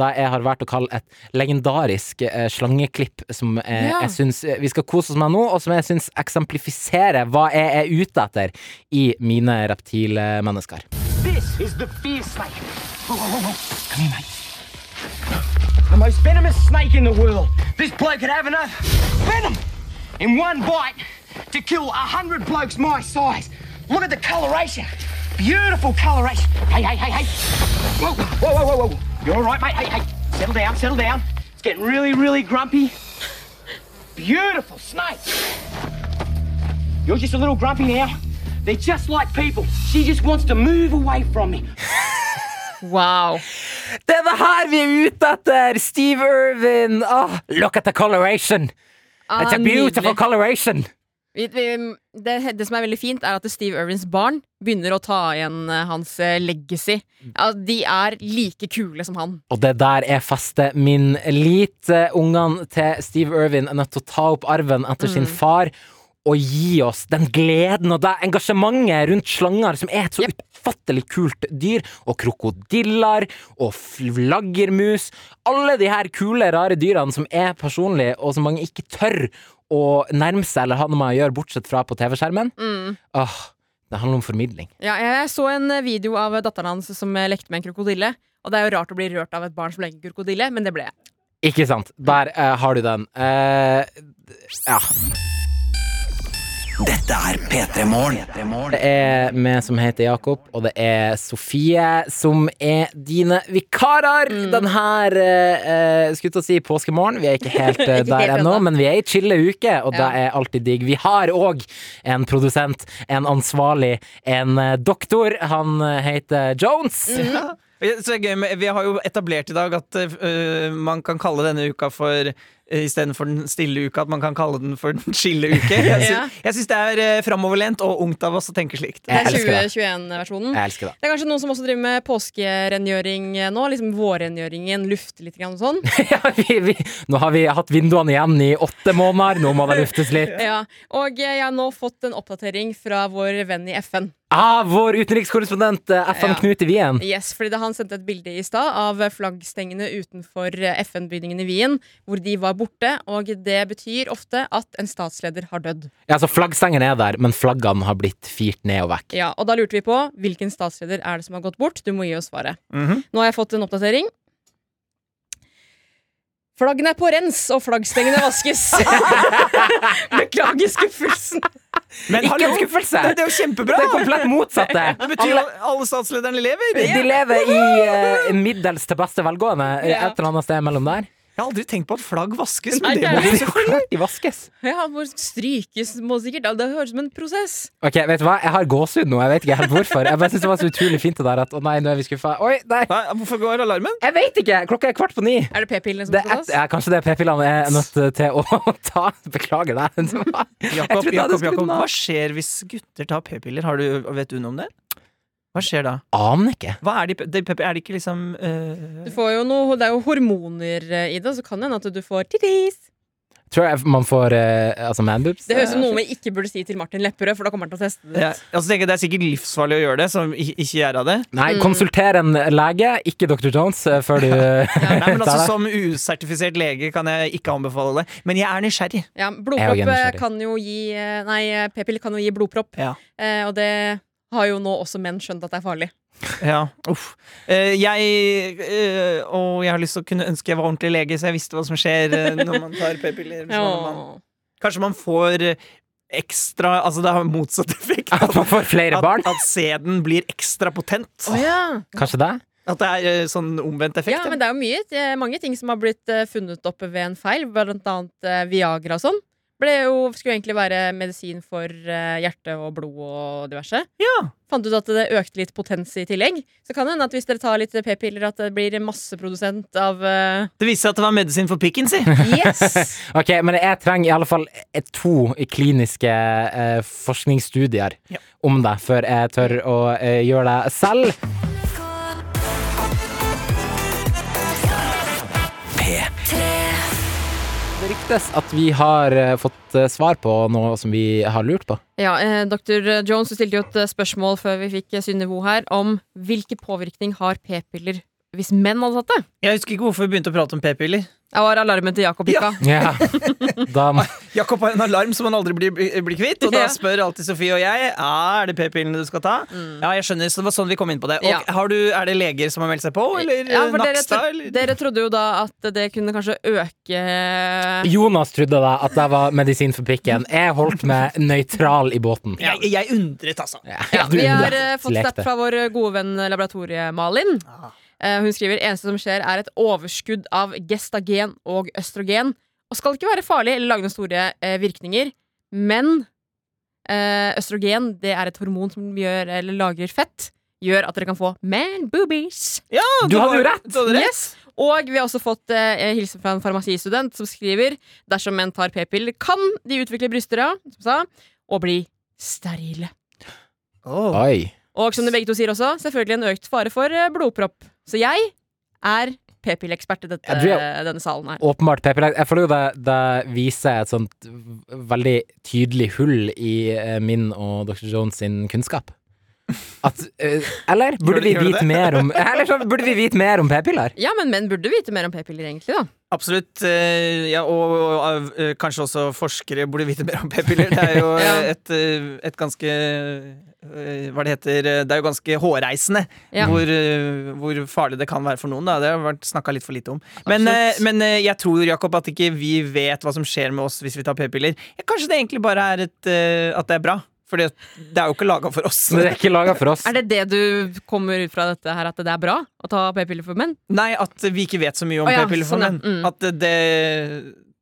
[SPEAKER 2] det jeg har valgt å kalle et legendarisk eh, slangeklipp som eh,
[SPEAKER 3] Ja.
[SPEAKER 2] jeg syns eh, vi skal kose oss med nå, og som jeg syns eksemplifiserer hva jeg er ute etter i mine reptilmennesker.
[SPEAKER 5] This is the fear snake. Whoa, whoa, whoa, whoa. Come here, mate. The most venomous snake in the world. This bloke could have enough venom in one bite to kill a hundred blokes my size. Look at the coloration. Beautiful coloration. Hey, hey, hey, hey. Whoa, whoa, whoa, whoa, whoa. You all right, mate? Hey, hey. Settle down, settle down. It's getting really, really grumpy. Beautiful snake. You're just a little grumpy now. They're just like people. She just wants to move away from me.
[SPEAKER 3] Wow.
[SPEAKER 2] Det er det her vi er ute etter! Steve Irvin! Ah, look at the coloration!
[SPEAKER 3] Ah,
[SPEAKER 2] It's a beautiful
[SPEAKER 3] nydelig.
[SPEAKER 2] coloration!
[SPEAKER 3] Vi- vi- det, det som er veldig fint, er at Steve Irwins barn begynner å ta igjen eh, hans eh, legacy.
[SPEAKER 2] Mm.
[SPEAKER 3] Ja, de er like kule som han.
[SPEAKER 2] Og det der er festet min lit. Ungene til Steve Irvin er nødt til å ta opp arven etter sin far. å gi oss den gleden og det engasjementet rundt slanger, som er et så utfattelig kult dyr, og krokodiller og flaggermus. Alle de her kule, rare dyrene som er personlige, og som mange ikke tør å nærme seg eller ha noe med å gjøre, bortsett fra på TV-skjermen. Åh, det handler om formidling.
[SPEAKER 3] Ja, jeg så en eh, video av datteren hans som eh, lekte med en krokodille. Og det er jo rart å bli rørt av et barn som leker krokodille, men det ble jeg.
[SPEAKER 2] Ikke sant? Der eh, har du den. Eh, ja.
[SPEAKER 10] Dette er P3 Morgen.
[SPEAKER 2] Det er meg som heter Jakob, og det er Sofie som er dine vikarer
[SPEAKER 3] Mm.
[SPEAKER 2] den her eh, eh, skulle til å si påskemorgen. Vi er ikke
[SPEAKER 3] (laughs)
[SPEAKER 2] helt eh,
[SPEAKER 3] Ikke
[SPEAKER 2] der
[SPEAKER 3] helt
[SPEAKER 2] ennå,
[SPEAKER 3] ennå.
[SPEAKER 2] men vi er i chille uke, og
[SPEAKER 3] Ja.
[SPEAKER 2] det er alltid digg. Vi har òg en produsent, en ansvarlig, en eh, doktor. Han eh, heter Jones.
[SPEAKER 3] Mm.
[SPEAKER 4] Ja, Så det er gøy med, vi har jo etablert i dag at øh, man kan kalle denne uka for øh, Istedenfor den stille uka, at man kan kalle den for den chille uke. Jeg sy-
[SPEAKER 3] Ja.
[SPEAKER 4] Jeg syns det er øh, framoverlent og ungt av oss å tenke slikt.
[SPEAKER 3] Det
[SPEAKER 2] Jeg
[SPEAKER 3] er
[SPEAKER 2] elsker det.
[SPEAKER 3] 2021-versjonen.
[SPEAKER 2] Jeg elsker det.
[SPEAKER 3] Det er kanskje noen som også driver med påskerengjøring nå. Liksom vårrengjøringen, lufte litt grann og
[SPEAKER 2] (laughs)
[SPEAKER 3] sånn.
[SPEAKER 2] Ja, vi, vi, nå har vi hatt vinduene igjen i åtte måneder, nå må det luftes litt.
[SPEAKER 3] Ja. Og eh, jeg har nå fått en oppdatering fra vår venn i FN.
[SPEAKER 2] Ah, vår utenrikskorrespondent eh, FM
[SPEAKER 3] Ja.
[SPEAKER 2] Knut i Wien.
[SPEAKER 3] Yes, fordi da Han sendte et bilde i stad av flaggstengene utenfor eh, FN-bygningen i Wien, hvor de var borte. Og det betyr ofte at en statsleder har dødd.
[SPEAKER 2] Ja, altså Flaggstangen er der, men flaggene har blitt firt ned og vekk.
[SPEAKER 3] Ja, og da lurte vi på hvilken statsleder er det som har gått bort. Du må gi oss svaret.
[SPEAKER 2] Mhm.
[SPEAKER 3] Nå har jeg fått en oppdatering. Flaggene er på rens, og flaggstengene
[SPEAKER 2] (laughs)
[SPEAKER 3] vaskes. Beklager skuffelsen.
[SPEAKER 4] Men
[SPEAKER 2] Ikke
[SPEAKER 4] hallo,
[SPEAKER 2] en skuffelse!
[SPEAKER 4] Det, det er jo kjempebra!
[SPEAKER 2] Det er komplett (laughs) motsatte!
[SPEAKER 4] Det betyr jo at alle statslederne lever!
[SPEAKER 2] De lever i eh, middels til beste velgående eh,
[SPEAKER 3] Ja.
[SPEAKER 2] et eller annet sted mellom der.
[SPEAKER 4] Jeg har aldri tenkt på at flagg vaskes,
[SPEAKER 3] Nei,
[SPEAKER 4] men det
[SPEAKER 3] det er
[SPEAKER 4] må
[SPEAKER 3] det.
[SPEAKER 4] vi
[SPEAKER 2] (laughs) Så klart de vaskes!
[SPEAKER 3] Ja, må strykes må sikkert. Ja, Det høres ut som en prosess.
[SPEAKER 2] Ok, vet du hva? Jeg har gåsehud nå, jeg vet ikke helt hvorfor. Jeg bare synes det var så utrolig fint det der at å nei, nå er vi skuffa. Oi, nei!
[SPEAKER 4] Nei, Hvorfor går alarmen?
[SPEAKER 2] Jeg vet ikke! Klokka er kvart på ni.
[SPEAKER 3] Er det p-pillene som
[SPEAKER 2] Det
[SPEAKER 3] skal
[SPEAKER 2] er,
[SPEAKER 3] tas?
[SPEAKER 2] ja, kanskje det er p-pillene jeg er nødt til å (laughs) ta. Beklager deg. (laughs) Jeg
[SPEAKER 4] Jakob,
[SPEAKER 2] trodde jeg hadde
[SPEAKER 4] Jakob,
[SPEAKER 2] skrudd
[SPEAKER 4] Jakob,
[SPEAKER 2] den av.
[SPEAKER 4] hva skjer hvis gutter tar p-piller? Har du, vet du noe om det? Hva skjer da?
[SPEAKER 2] Aner ikke.
[SPEAKER 4] Hva er de, de p-piller? Er de ikke liksom øh,
[SPEAKER 3] Du får jo noe, det er jo hormoner eh, i det, så kan det hende at du får tittis.
[SPEAKER 2] Tror jeg man får eh, altså manboobs.
[SPEAKER 3] Det høres ut som noe vi ikke burde si til Martin Lepperød, for da kommer han til å teste det.
[SPEAKER 4] Ja, og så tenker jeg Det er sikkert livsfarlig å gjøre det, som i- ikke gjør av (laughs) det.
[SPEAKER 2] Nei, konsulter en lege, ikke Dr. Jones, eh, før du
[SPEAKER 4] (laughs)
[SPEAKER 2] (laughs)
[SPEAKER 4] Nei, men
[SPEAKER 2] tar
[SPEAKER 4] altså
[SPEAKER 2] det.
[SPEAKER 4] Som usertifisert lege kan jeg ikke anbefale det, men jeg er nysgjerrig.
[SPEAKER 3] Ja,
[SPEAKER 2] Jeg er
[SPEAKER 3] blodpropp
[SPEAKER 2] jo
[SPEAKER 3] eh,
[SPEAKER 2] gjenkjøring.
[SPEAKER 3] kan jo gi eh, Nei, eh, p-piller kan jo gi blodpropp.
[SPEAKER 4] Ja.
[SPEAKER 3] Eh, og det har jo nå også menn skjønt at det er farlig.
[SPEAKER 4] Ja, uff. Eh, jeg eh, Og jeg har lyst til å kunne ønske jeg var ordentlig lege, så jeg visste hva som skjer eh, når man tar
[SPEAKER 3] (laughs)
[SPEAKER 4] p-piller. så når man-
[SPEAKER 3] Åh.
[SPEAKER 4] Kanskje man får eh, ekstra Altså det har motsatt (laughs) effekt.
[SPEAKER 2] At man får flere
[SPEAKER 4] At,
[SPEAKER 2] barn?
[SPEAKER 4] at sæden blir ekstra potent.
[SPEAKER 3] Å ja.
[SPEAKER 2] Kanskje det?
[SPEAKER 4] At det er eh, sånn omvendt effekt.
[SPEAKER 3] ja, men det er jo mye, eh, mange ting som har blitt eh, funnet opp ved en feil, blant annet eh, Viagra og sånn. Ble jo, skulle egentlig være medisin for eh, hjerte og blod og diverse.
[SPEAKER 4] Ja.
[SPEAKER 3] Fant ut at det økte litt potens i tillegg. Så kan det hende at hvis dere tar litt p-piller, at det blir masseprodusent av eh,
[SPEAKER 4] Det viste seg at det var medisin for pikken, (laughs) si.
[SPEAKER 3] Yes!
[SPEAKER 2] Ok, Men jeg trenger i alle fall eh, to kliniske eh, forskningsstudier
[SPEAKER 4] Ja.
[SPEAKER 2] om det, før jeg tør å eh, gjøre det selv. Det ryktes at vi har eh, fått eh, svar på noe som vi har lurt på.
[SPEAKER 3] Ja, eh, Dr. Jones, du stilte jo et eh, spørsmål før vi fikk eh, Synne Vo her, om hvilken påvirkning har p-piller hvis menn hadde tatt det?
[SPEAKER 4] Jeg husker ikke hvorfor vi begynte å prate om p-piller.
[SPEAKER 3] Det var alarmen til Jakob gikk av.
[SPEAKER 2] Ja. (laughs) Da må
[SPEAKER 4] Jakob har en alarm som han aldri blir, eh, blir kvitt, og da
[SPEAKER 3] Ja.
[SPEAKER 4] spør alltid Sofie og jeg ja, er det p-pillene du skal ta. Ja, jeg skjønner, så det var sånn vi kom inn på det. Og
[SPEAKER 3] Ja.
[SPEAKER 4] har du, Er det leger som har meldt seg på, eller
[SPEAKER 3] Ja,
[SPEAKER 4] eh,
[SPEAKER 3] for dere,
[SPEAKER 4] Nakstad?
[SPEAKER 3] tro-
[SPEAKER 4] Eller?
[SPEAKER 3] dere trodde jo da at det kunne kanskje øke eh,
[SPEAKER 2] Jonas trodde da at det var medisin for prikken. Jeg holdt meg nøytral i båten.
[SPEAKER 4] Jeg, jeg undret, altså.
[SPEAKER 2] Ja, du
[SPEAKER 3] Vi har eh,
[SPEAKER 2] lekte.
[SPEAKER 3] fått snap fra vår gode venn eh, laboratoriet-Malin. Eh, Hun skriver eneste som skjer, er et overskudd av gestagen og østrogen. Og skal ikke være farlig eller lage noen store eh, virkninger, men eh, østrogen det er et hormon som gjør, eller lagrer fett. Gjør at dere kan få man boobies.
[SPEAKER 2] Du hadde jo rett!
[SPEAKER 4] Du hadde rett.
[SPEAKER 3] Yes. Og vi har også fått eh, hilsen fra en farmasistudent som skriver dersom menn tar p-piller, kan de utvikle bryster, ja, som sa, og bli sterile.
[SPEAKER 4] Åh.
[SPEAKER 2] Oi.
[SPEAKER 3] Og som de begge to sier også, selvfølgelig en økt fare for eh, blodpropp. Så jeg er p-pilleekspert i dette,
[SPEAKER 2] Jeg tror jeg-
[SPEAKER 3] denne salen her.
[SPEAKER 2] Åpenbart p-piller. Jeg føler jo det, det viser et sånt veldig tydelig hull i eh, min og Dr. Jones sin kunnskap. At, eh, eller burde
[SPEAKER 4] Gjør det-
[SPEAKER 2] vi
[SPEAKER 4] gjør det
[SPEAKER 2] vite
[SPEAKER 4] det?
[SPEAKER 2] mer om Eller så burde vi vite mer om p-piller?
[SPEAKER 3] Ja, men menn burde vite mer om p-piller, egentlig, da.
[SPEAKER 4] Absolutt. eh, Ja, og, og eh, kanskje også forskere burde vite mer om p-piller. Det
[SPEAKER 3] (laughs)
[SPEAKER 4] er jo eh, et, eh, et ganske eh, Hva det heter eh, Det er jo ganske hårreisende
[SPEAKER 3] Ja.
[SPEAKER 4] hvor, eh, hvor farlig det kan være for noen. Da. Det har vært snakka litt for lite om. Men, eh,
[SPEAKER 3] Absolutt.
[SPEAKER 4] men eh, jeg tror Jakob, at ikke vi vet hva som skjer med oss hvis vi tar p-piller. Ja, Kanskje det egentlig bare er et, eh, at det er bra. For det det er jo ikke laga for oss.
[SPEAKER 2] Så det er ikke laga for oss.
[SPEAKER 3] Er det det du kommer ut fra dette her, at det er bra å ta p-piller for menn?
[SPEAKER 4] (laughs) Nei, at vi ikke vet så mye om
[SPEAKER 3] Å ja,
[SPEAKER 4] p-piller for
[SPEAKER 3] sånn, ja.
[SPEAKER 4] menn.
[SPEAKER 3] Mm.
[SPEAKER 4] At det,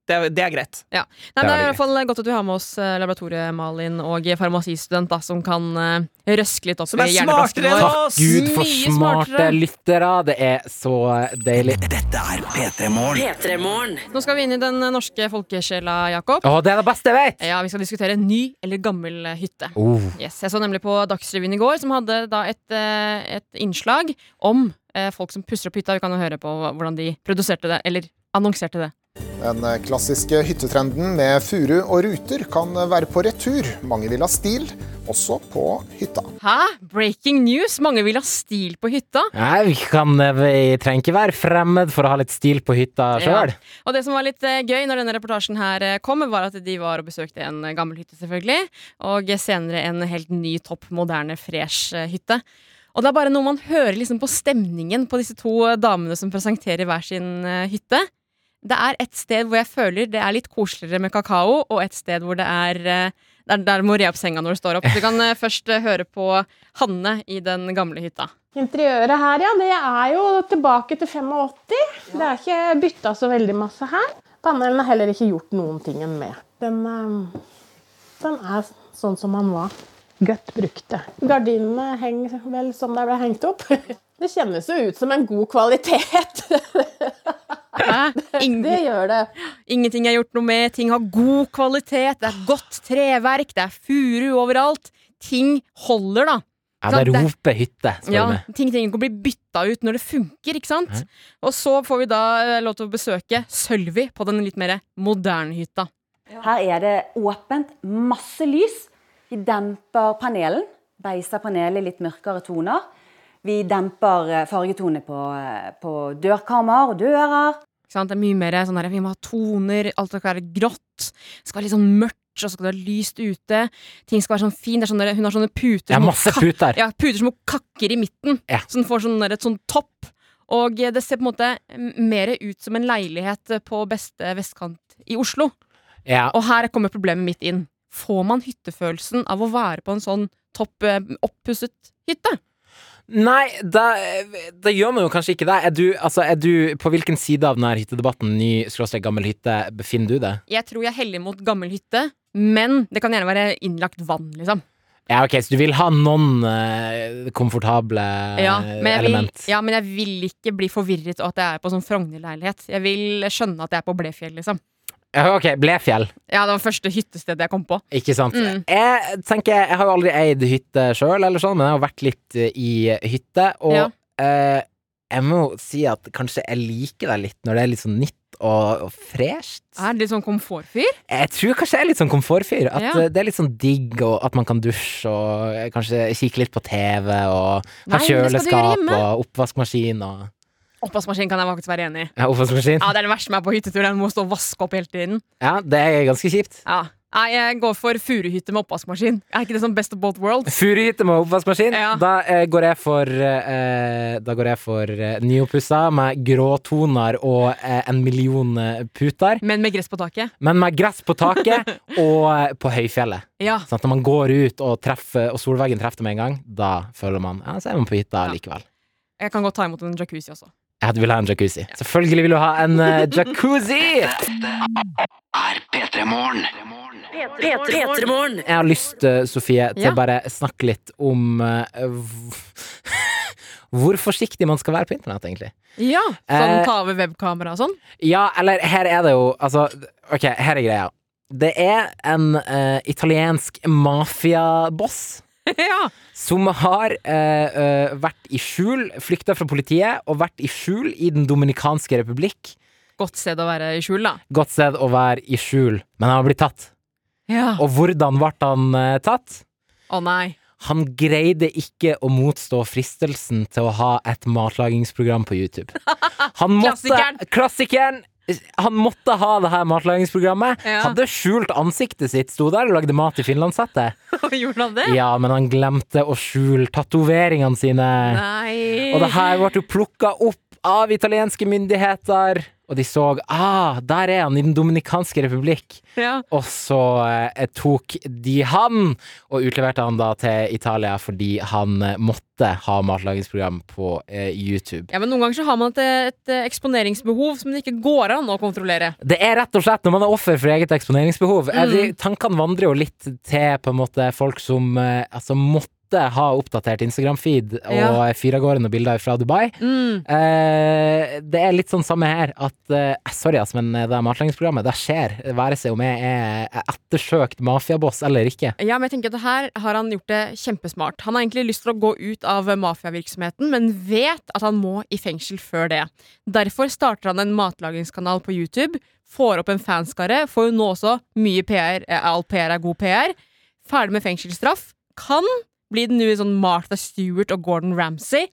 [SPEAKER 4] det, er- det er greit.
[SPEAKER 3] Nei,
[SPEAKER 2] Det
[SPEAKER 3] men
[SPEAKER 2] er
[SPEAKER 3] det er i
[SPEAKER 2] veldig
[SPEAKER 3] hvert fall godt at vi har med oss eh, laboratoriet-Malin og farmasistudent, da, som kan eh, røske litt opp
[SPEAKER 4] Som er
[SPEAKER 3] i hjerneplasken
[SPEAKER 4] smartere enn
[SPEAKER 3] vår.
[SPEAKER 4] oss!
[SPEAKER 2] Gud, for
[SPEAKER 3] Mye
[SPEAKER 2] smarte
[SPEAKER 3] smartere.
[SPEAKER 2] lyttere. Det er så deilig.
[SPEAKER 10] Dette er P3 Morgen.
[SPEAKER 1] P3morgen.
[SPEAKER 3] Nå skal vi inn i den eh, norske folkesjela, Jakob.
[SPEAKER 2] Å, det er det beste jeg vet!
[SPEAKER 3] Ja, Vi skal diskutere ny eller gammel eh, hytte.
[SPEAKER 2] Oh.
[SPEAKER 3] Yes, jeg så nemlig på Dagsrevyen i går, som hadde da et, eh, et innslag om eh, folk som pusser opp hytta. Vi kan jo høre på hvordan de produserte det, eller annonserte det.
[SPEAKER 11] Den klassiske hyttetrenden med furu og ruter kan være på retur. Mange vil ha stil, også på hytta.
[SPEAKER 3] Hæ? Breaking news! Mange vil ha stil på hytta.
[SPEAKER 2] Nei, vi, kan, eh, vi trenger ikke være fremmed for å ha litt stil på hytta sjøl.
[SPEAKER 3] Og det som var litt eh, gøy når denne reportasjen her eh, kom, var at de var og besøkte en eh, gammel hytte, selvfølgelig. Og eh, senere en helt ny, topp moderne, fresh eh, hytte. Og det er bare noe man hører liksom på stemningen på disse to eh, damene som presenterer hver sin eh, hytte. Det er et sted hvor jeg føler det er litt koseligere med kakao, og et sted hvor det er eh, der, der må re opp senga når du står opp. Du kan eh, først eh, høre på Hanne i den gamle hytta.
[SPEAKER 12] Interiøret her, ja, det er jo tilbake til 85. Det er ikke bytta så veldig masse her. Panelen er heller ikke gjort noen tingen med. Den, eh, den er sånn som den var. Godt brukte. Gardinene henger vel som de ble hengt opp. Det kjennes jo ut som en god kvalitet.
[SPEAKER 3] Hæ?
[SPEAKER 12] Det gjør det.
[SPEAKER 3] Ingenting er gjort noe med, ting har god kvalitet, det er godt treverk, det er furu overalt. Ting holder, da.
[SPEAKER 2] Ja, det
[SPEAKER 3] Sant, det-
[SPEAKER 2] roper hytte, spør
[SPEAKER 3] Ja,
[SPEAKER 2] du meg.
[SPEAKER 3] ting trenger ikke å bli bytta ut når det funker, ikke sant? Og så får vi da eh, lov til å besøke Sølvi på den litt mer moderne hytta.
[SPEAKER 13] Her er det åpent, masse lys. Vi demper panelen, beiser panelet i litt mørkere toner. Vi demper eh, fargetonene på, eh, på dørkammer og dører.
[SPEAKER 3] Ikke sant? Det er mye mer sånn her, vi må ha toner, alt skal være grått, det skal være litt sånn mørkt, og så skal det være lyst ute. Ting skal være sånn fin, det er sånn der, hun har sånne puter
[SPEAKER 2] Det er
[SPEAKER 3] som hun
[SPEAKER 2] masse
[SPEAKER 3] kak-
[SPEAKER 2] puter.
[SPEAKER 3] Ja, puter som hun kakker i midten,
[SPEAKER 2] Ja.
[SPEAKER 3] så den får sånn der, et sånn topp. Og eh, det ser på en måte mer ut som en leilighet på beste vestkant i Oslo.
[SPEAKER 2] Ja.
[SPEAKER 3] Og her kommer problemet mitt inn. Får man hyttefølelsen av å være på en sånn topp eh, oppusset hytte?
[SPEAKER 2] Nei, da, da gjør man jo kanskje ikke det. Er du, altså, er du På hvilken side av denne hyttedebatten, ny skråstrek gammel hytte, befinner du deg?
[SPEAKER 3] Jeg tror jeg heller mot gammel hytte, men det kan gjerne være innlagt vann, liksom.
[SPEAKER 2] Ja, ok, så du vil ha noen eh, komfortable
[SPEAKER 3] Ja,
[SPEAKER 2] eh,
[SPEAKER 3] men, jeg vil,
[SPEAKER 2] element?
[SPEAKER 3] ja, men jeg vil ikke bli forvirret av at jeg er på sånn Frogner-leilighet. Jeg vil skjønne at jeg er på Blefjell, liksom.
[SPEAKER 2] Ja, Ok, Blefjell,
[SPEAKER 3] Ja, det var første hyttestedet jeg kom på.
[SPEAKER 2] ikke sant?
[SPEAKER 3] Mm.
[SPEAKER 2] Jeg tenker, jeg har jo aldri eid hytte sjøl, eller sånn, men jeg har vært litt eh, i hytte, og
[SPEAKER 3] Ja.
[SPEAKER 2] eh, jeg må jo si at kanskje jeg liker deg litt når det er litt sånn nytt og, og fresht.
[SPEAKER 3] Jeg er litt sånn komfortfyr.
[SPEAKER 2] Jeg tror kanskje jeg er litt sånn komfortfyr. At
[SPEAKER 3] Ja.
[SPEAKER 2] eh, det er litt sånn digg, og at man kan dusje, og eh, kanskje kikke litt på TV,
[SPEAKER 3] Nei, men
[SPEAKER 2] og ha
[SPEAKER 3] det skal du gjøre
[SPEAKER 2] kjøleskap
[SPEAKER 3] hjemme.
[SPEAKER 2] og oppvaskmaskin og
[SPEAKER 3] Oppvaskmaskin kan jeg faktisk være enig i.
[SPEAKER 2] Ja, oppvaskmaskin.
[SPEAKER 3] Ja, det er det verste med å være på hyttetur. Jeg må stå og vaske opp hele tiden.
[SPEAKER 2] Ja, det er ganske kjipt.
[SPEAKER 3] Ja. Nei, jeg går for furuhytte med oppvaskmaskin. Er ikke det sånn best of both worlds?
[SPEAKER 2] Furuhytte med oppvaskmaskin.
[SPEAKER 3] Ja.
[SPEAKER 2] Da eh, går jeg for eh, Da går jeg for eh, nyoppussa med gråtoner og eh, en million eh, puter.
[SPEAKER 3] Men med gress på taket.
[SPEAKER 2] Men med gress på
[SPEAKER 3] (laughs)
[SPEAKER 2] taket og eh, på høyfjellet.
[SPEAKER 3] Ja.
[SPEAKER 2] Sånn at når man går ut og, treffer, og solveggen treffer det med en gang, da føler man Ja, så er man på hytta likevel.
[SPEAKER 3] Jeg kan godt ta imot en jacuzzi også.
[SPEAKER 2] Ja, du vil ha en jacuzzi. Selvfølgelig vil du ha en eh, jacuzzi!
[SPEAKER 10] P3 Morgen.
[SPEAKER 1] P3morgen.
[SPEAKER 2] Jeg har lyst, eh, Sofie, til
[SPEAKER 3] Ja.
[SPEAKER 2] bare snakke litt om eh, hvor forsiktig man skal være på internett, egentlig.
[SPEAKER 3] Ja, Sånn
[SPEAKER 2] Eh,
[SPEAKER 3] ta over webkamera og sånn. (laughs)
[SPEAKER 2] Ja, eller her er det jo Altså, ok, her er greia. Det er en eh, italiensk mafiaboss Som har eh, eh, vært i skjul, flykta fra politiet, og vært i skjul i Den dominikanske republikk.
[SPEAKER 3] Godt sted å være i skjul, da.
[SPEAKER 2] Godt sted å være i skjul, men han har blitt tatt.
[SPEAKER 3] Ja.
[SPEAKER 2] Og hvordan ble han eh, tatt?
[SPEAKER 3] Å (laughs) nei.
[SPEAKER 2] Han greide ikke å motstå fristelsen til å ha et matlagingsprogram på YouTube. Han måtte, klassikeren. Han måtte ha det her matlagingsprogrammet.
[SPEAKER 3] Ja.
[SPEAKER 2] Hadde skjult ansiktet sitt, sto der og lagde mat til finlandshette.
[SPEAKER 3] Gjorde han det?
[SPEAKER 2] Ja, men han glemte å skjule tatoveringene sine.
[SPEAKER 3] Nei.
[SPEAKER 2] Og det her ble jo plukka opp av italienske myndigheter. Og de så ah, der er han, i Den dominikanske republikk.
[SPEAKER 3] Ja.
[SPEAKER 2] Og så eh, tok de han og utleverte han da til Italia fordi han eh, måtte ha matlagingsprogram på eh, YouTube.
[SPEAKER 3] Ja, men Noen ganger så har man et, et eksponeringsbehov som det ikke går an å kontrollere.
[SPEAKER 2] Det er rett og slett når man er offer for eget eksponeringsbehov. er de-
[SPEAKER 3] Mm.
[SPEAKER 2] Tankene vandrer jo litt til på en måte folk som eh, altså måtte ha oppdatert Instagram-feed og
[SPEAKER 3] Ja. Mm.
[SPEAKER 2] ja. fyre av gårde noen bilder fra Dubai. Eh, det er litt sånn samme her at eh, Sorry, ass, men det matlagingsprogrammet, det skjer. Være seg om jeg er eh, ettersøkt mafiaboss eller ikke.
[SPEAKER 3] Ja, men jeg tenker at det her har han gjort det kjempesmart. Han har egentlig lyst til å gå ut av mafiavirksomheten, men vet at han må i fengsel før det. Derfor starter han en matlagingskanal på YouTube, får opp en fanskare, får jo nå også mye PR, eh, all PR er god PR, ferdig med fengselsstraff, kan bli den nye sånn Martha Stewart og Gordon Ramsay.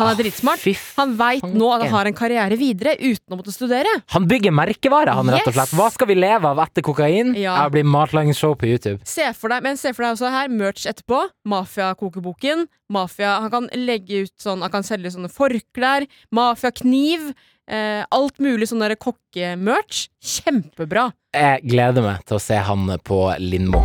[SPEAKER 3] Han er
[SPEAKER 2] Ah,
[SPEAKER 3] dritsmart. Han veit nå at han har en karriere videre uten å måtte studere.
[SPEAKER 2] Han bygger merkevare, han, rett og
[SPEAKER 3] Yes!
[SPEAKER 2] slett. Hva skal vi leve av etter kokain?
[SPEAKER 3] Ja.
[SPEAKER 2] Jeg blir matlagingsshow på YouTube.
[SPEAKER 3] Se for deg, men se for deg også her, merch etterpå. Mafia-kokeboken. Mafia, han kan legge ut sånn, han kan selge sånne forklær. Mafia-kniv. Eh, alt mulig sånn derre kokkemerch. Kjempebra.
[SPEAKER 2] Jeg gleder meg til å se han på Lindmo.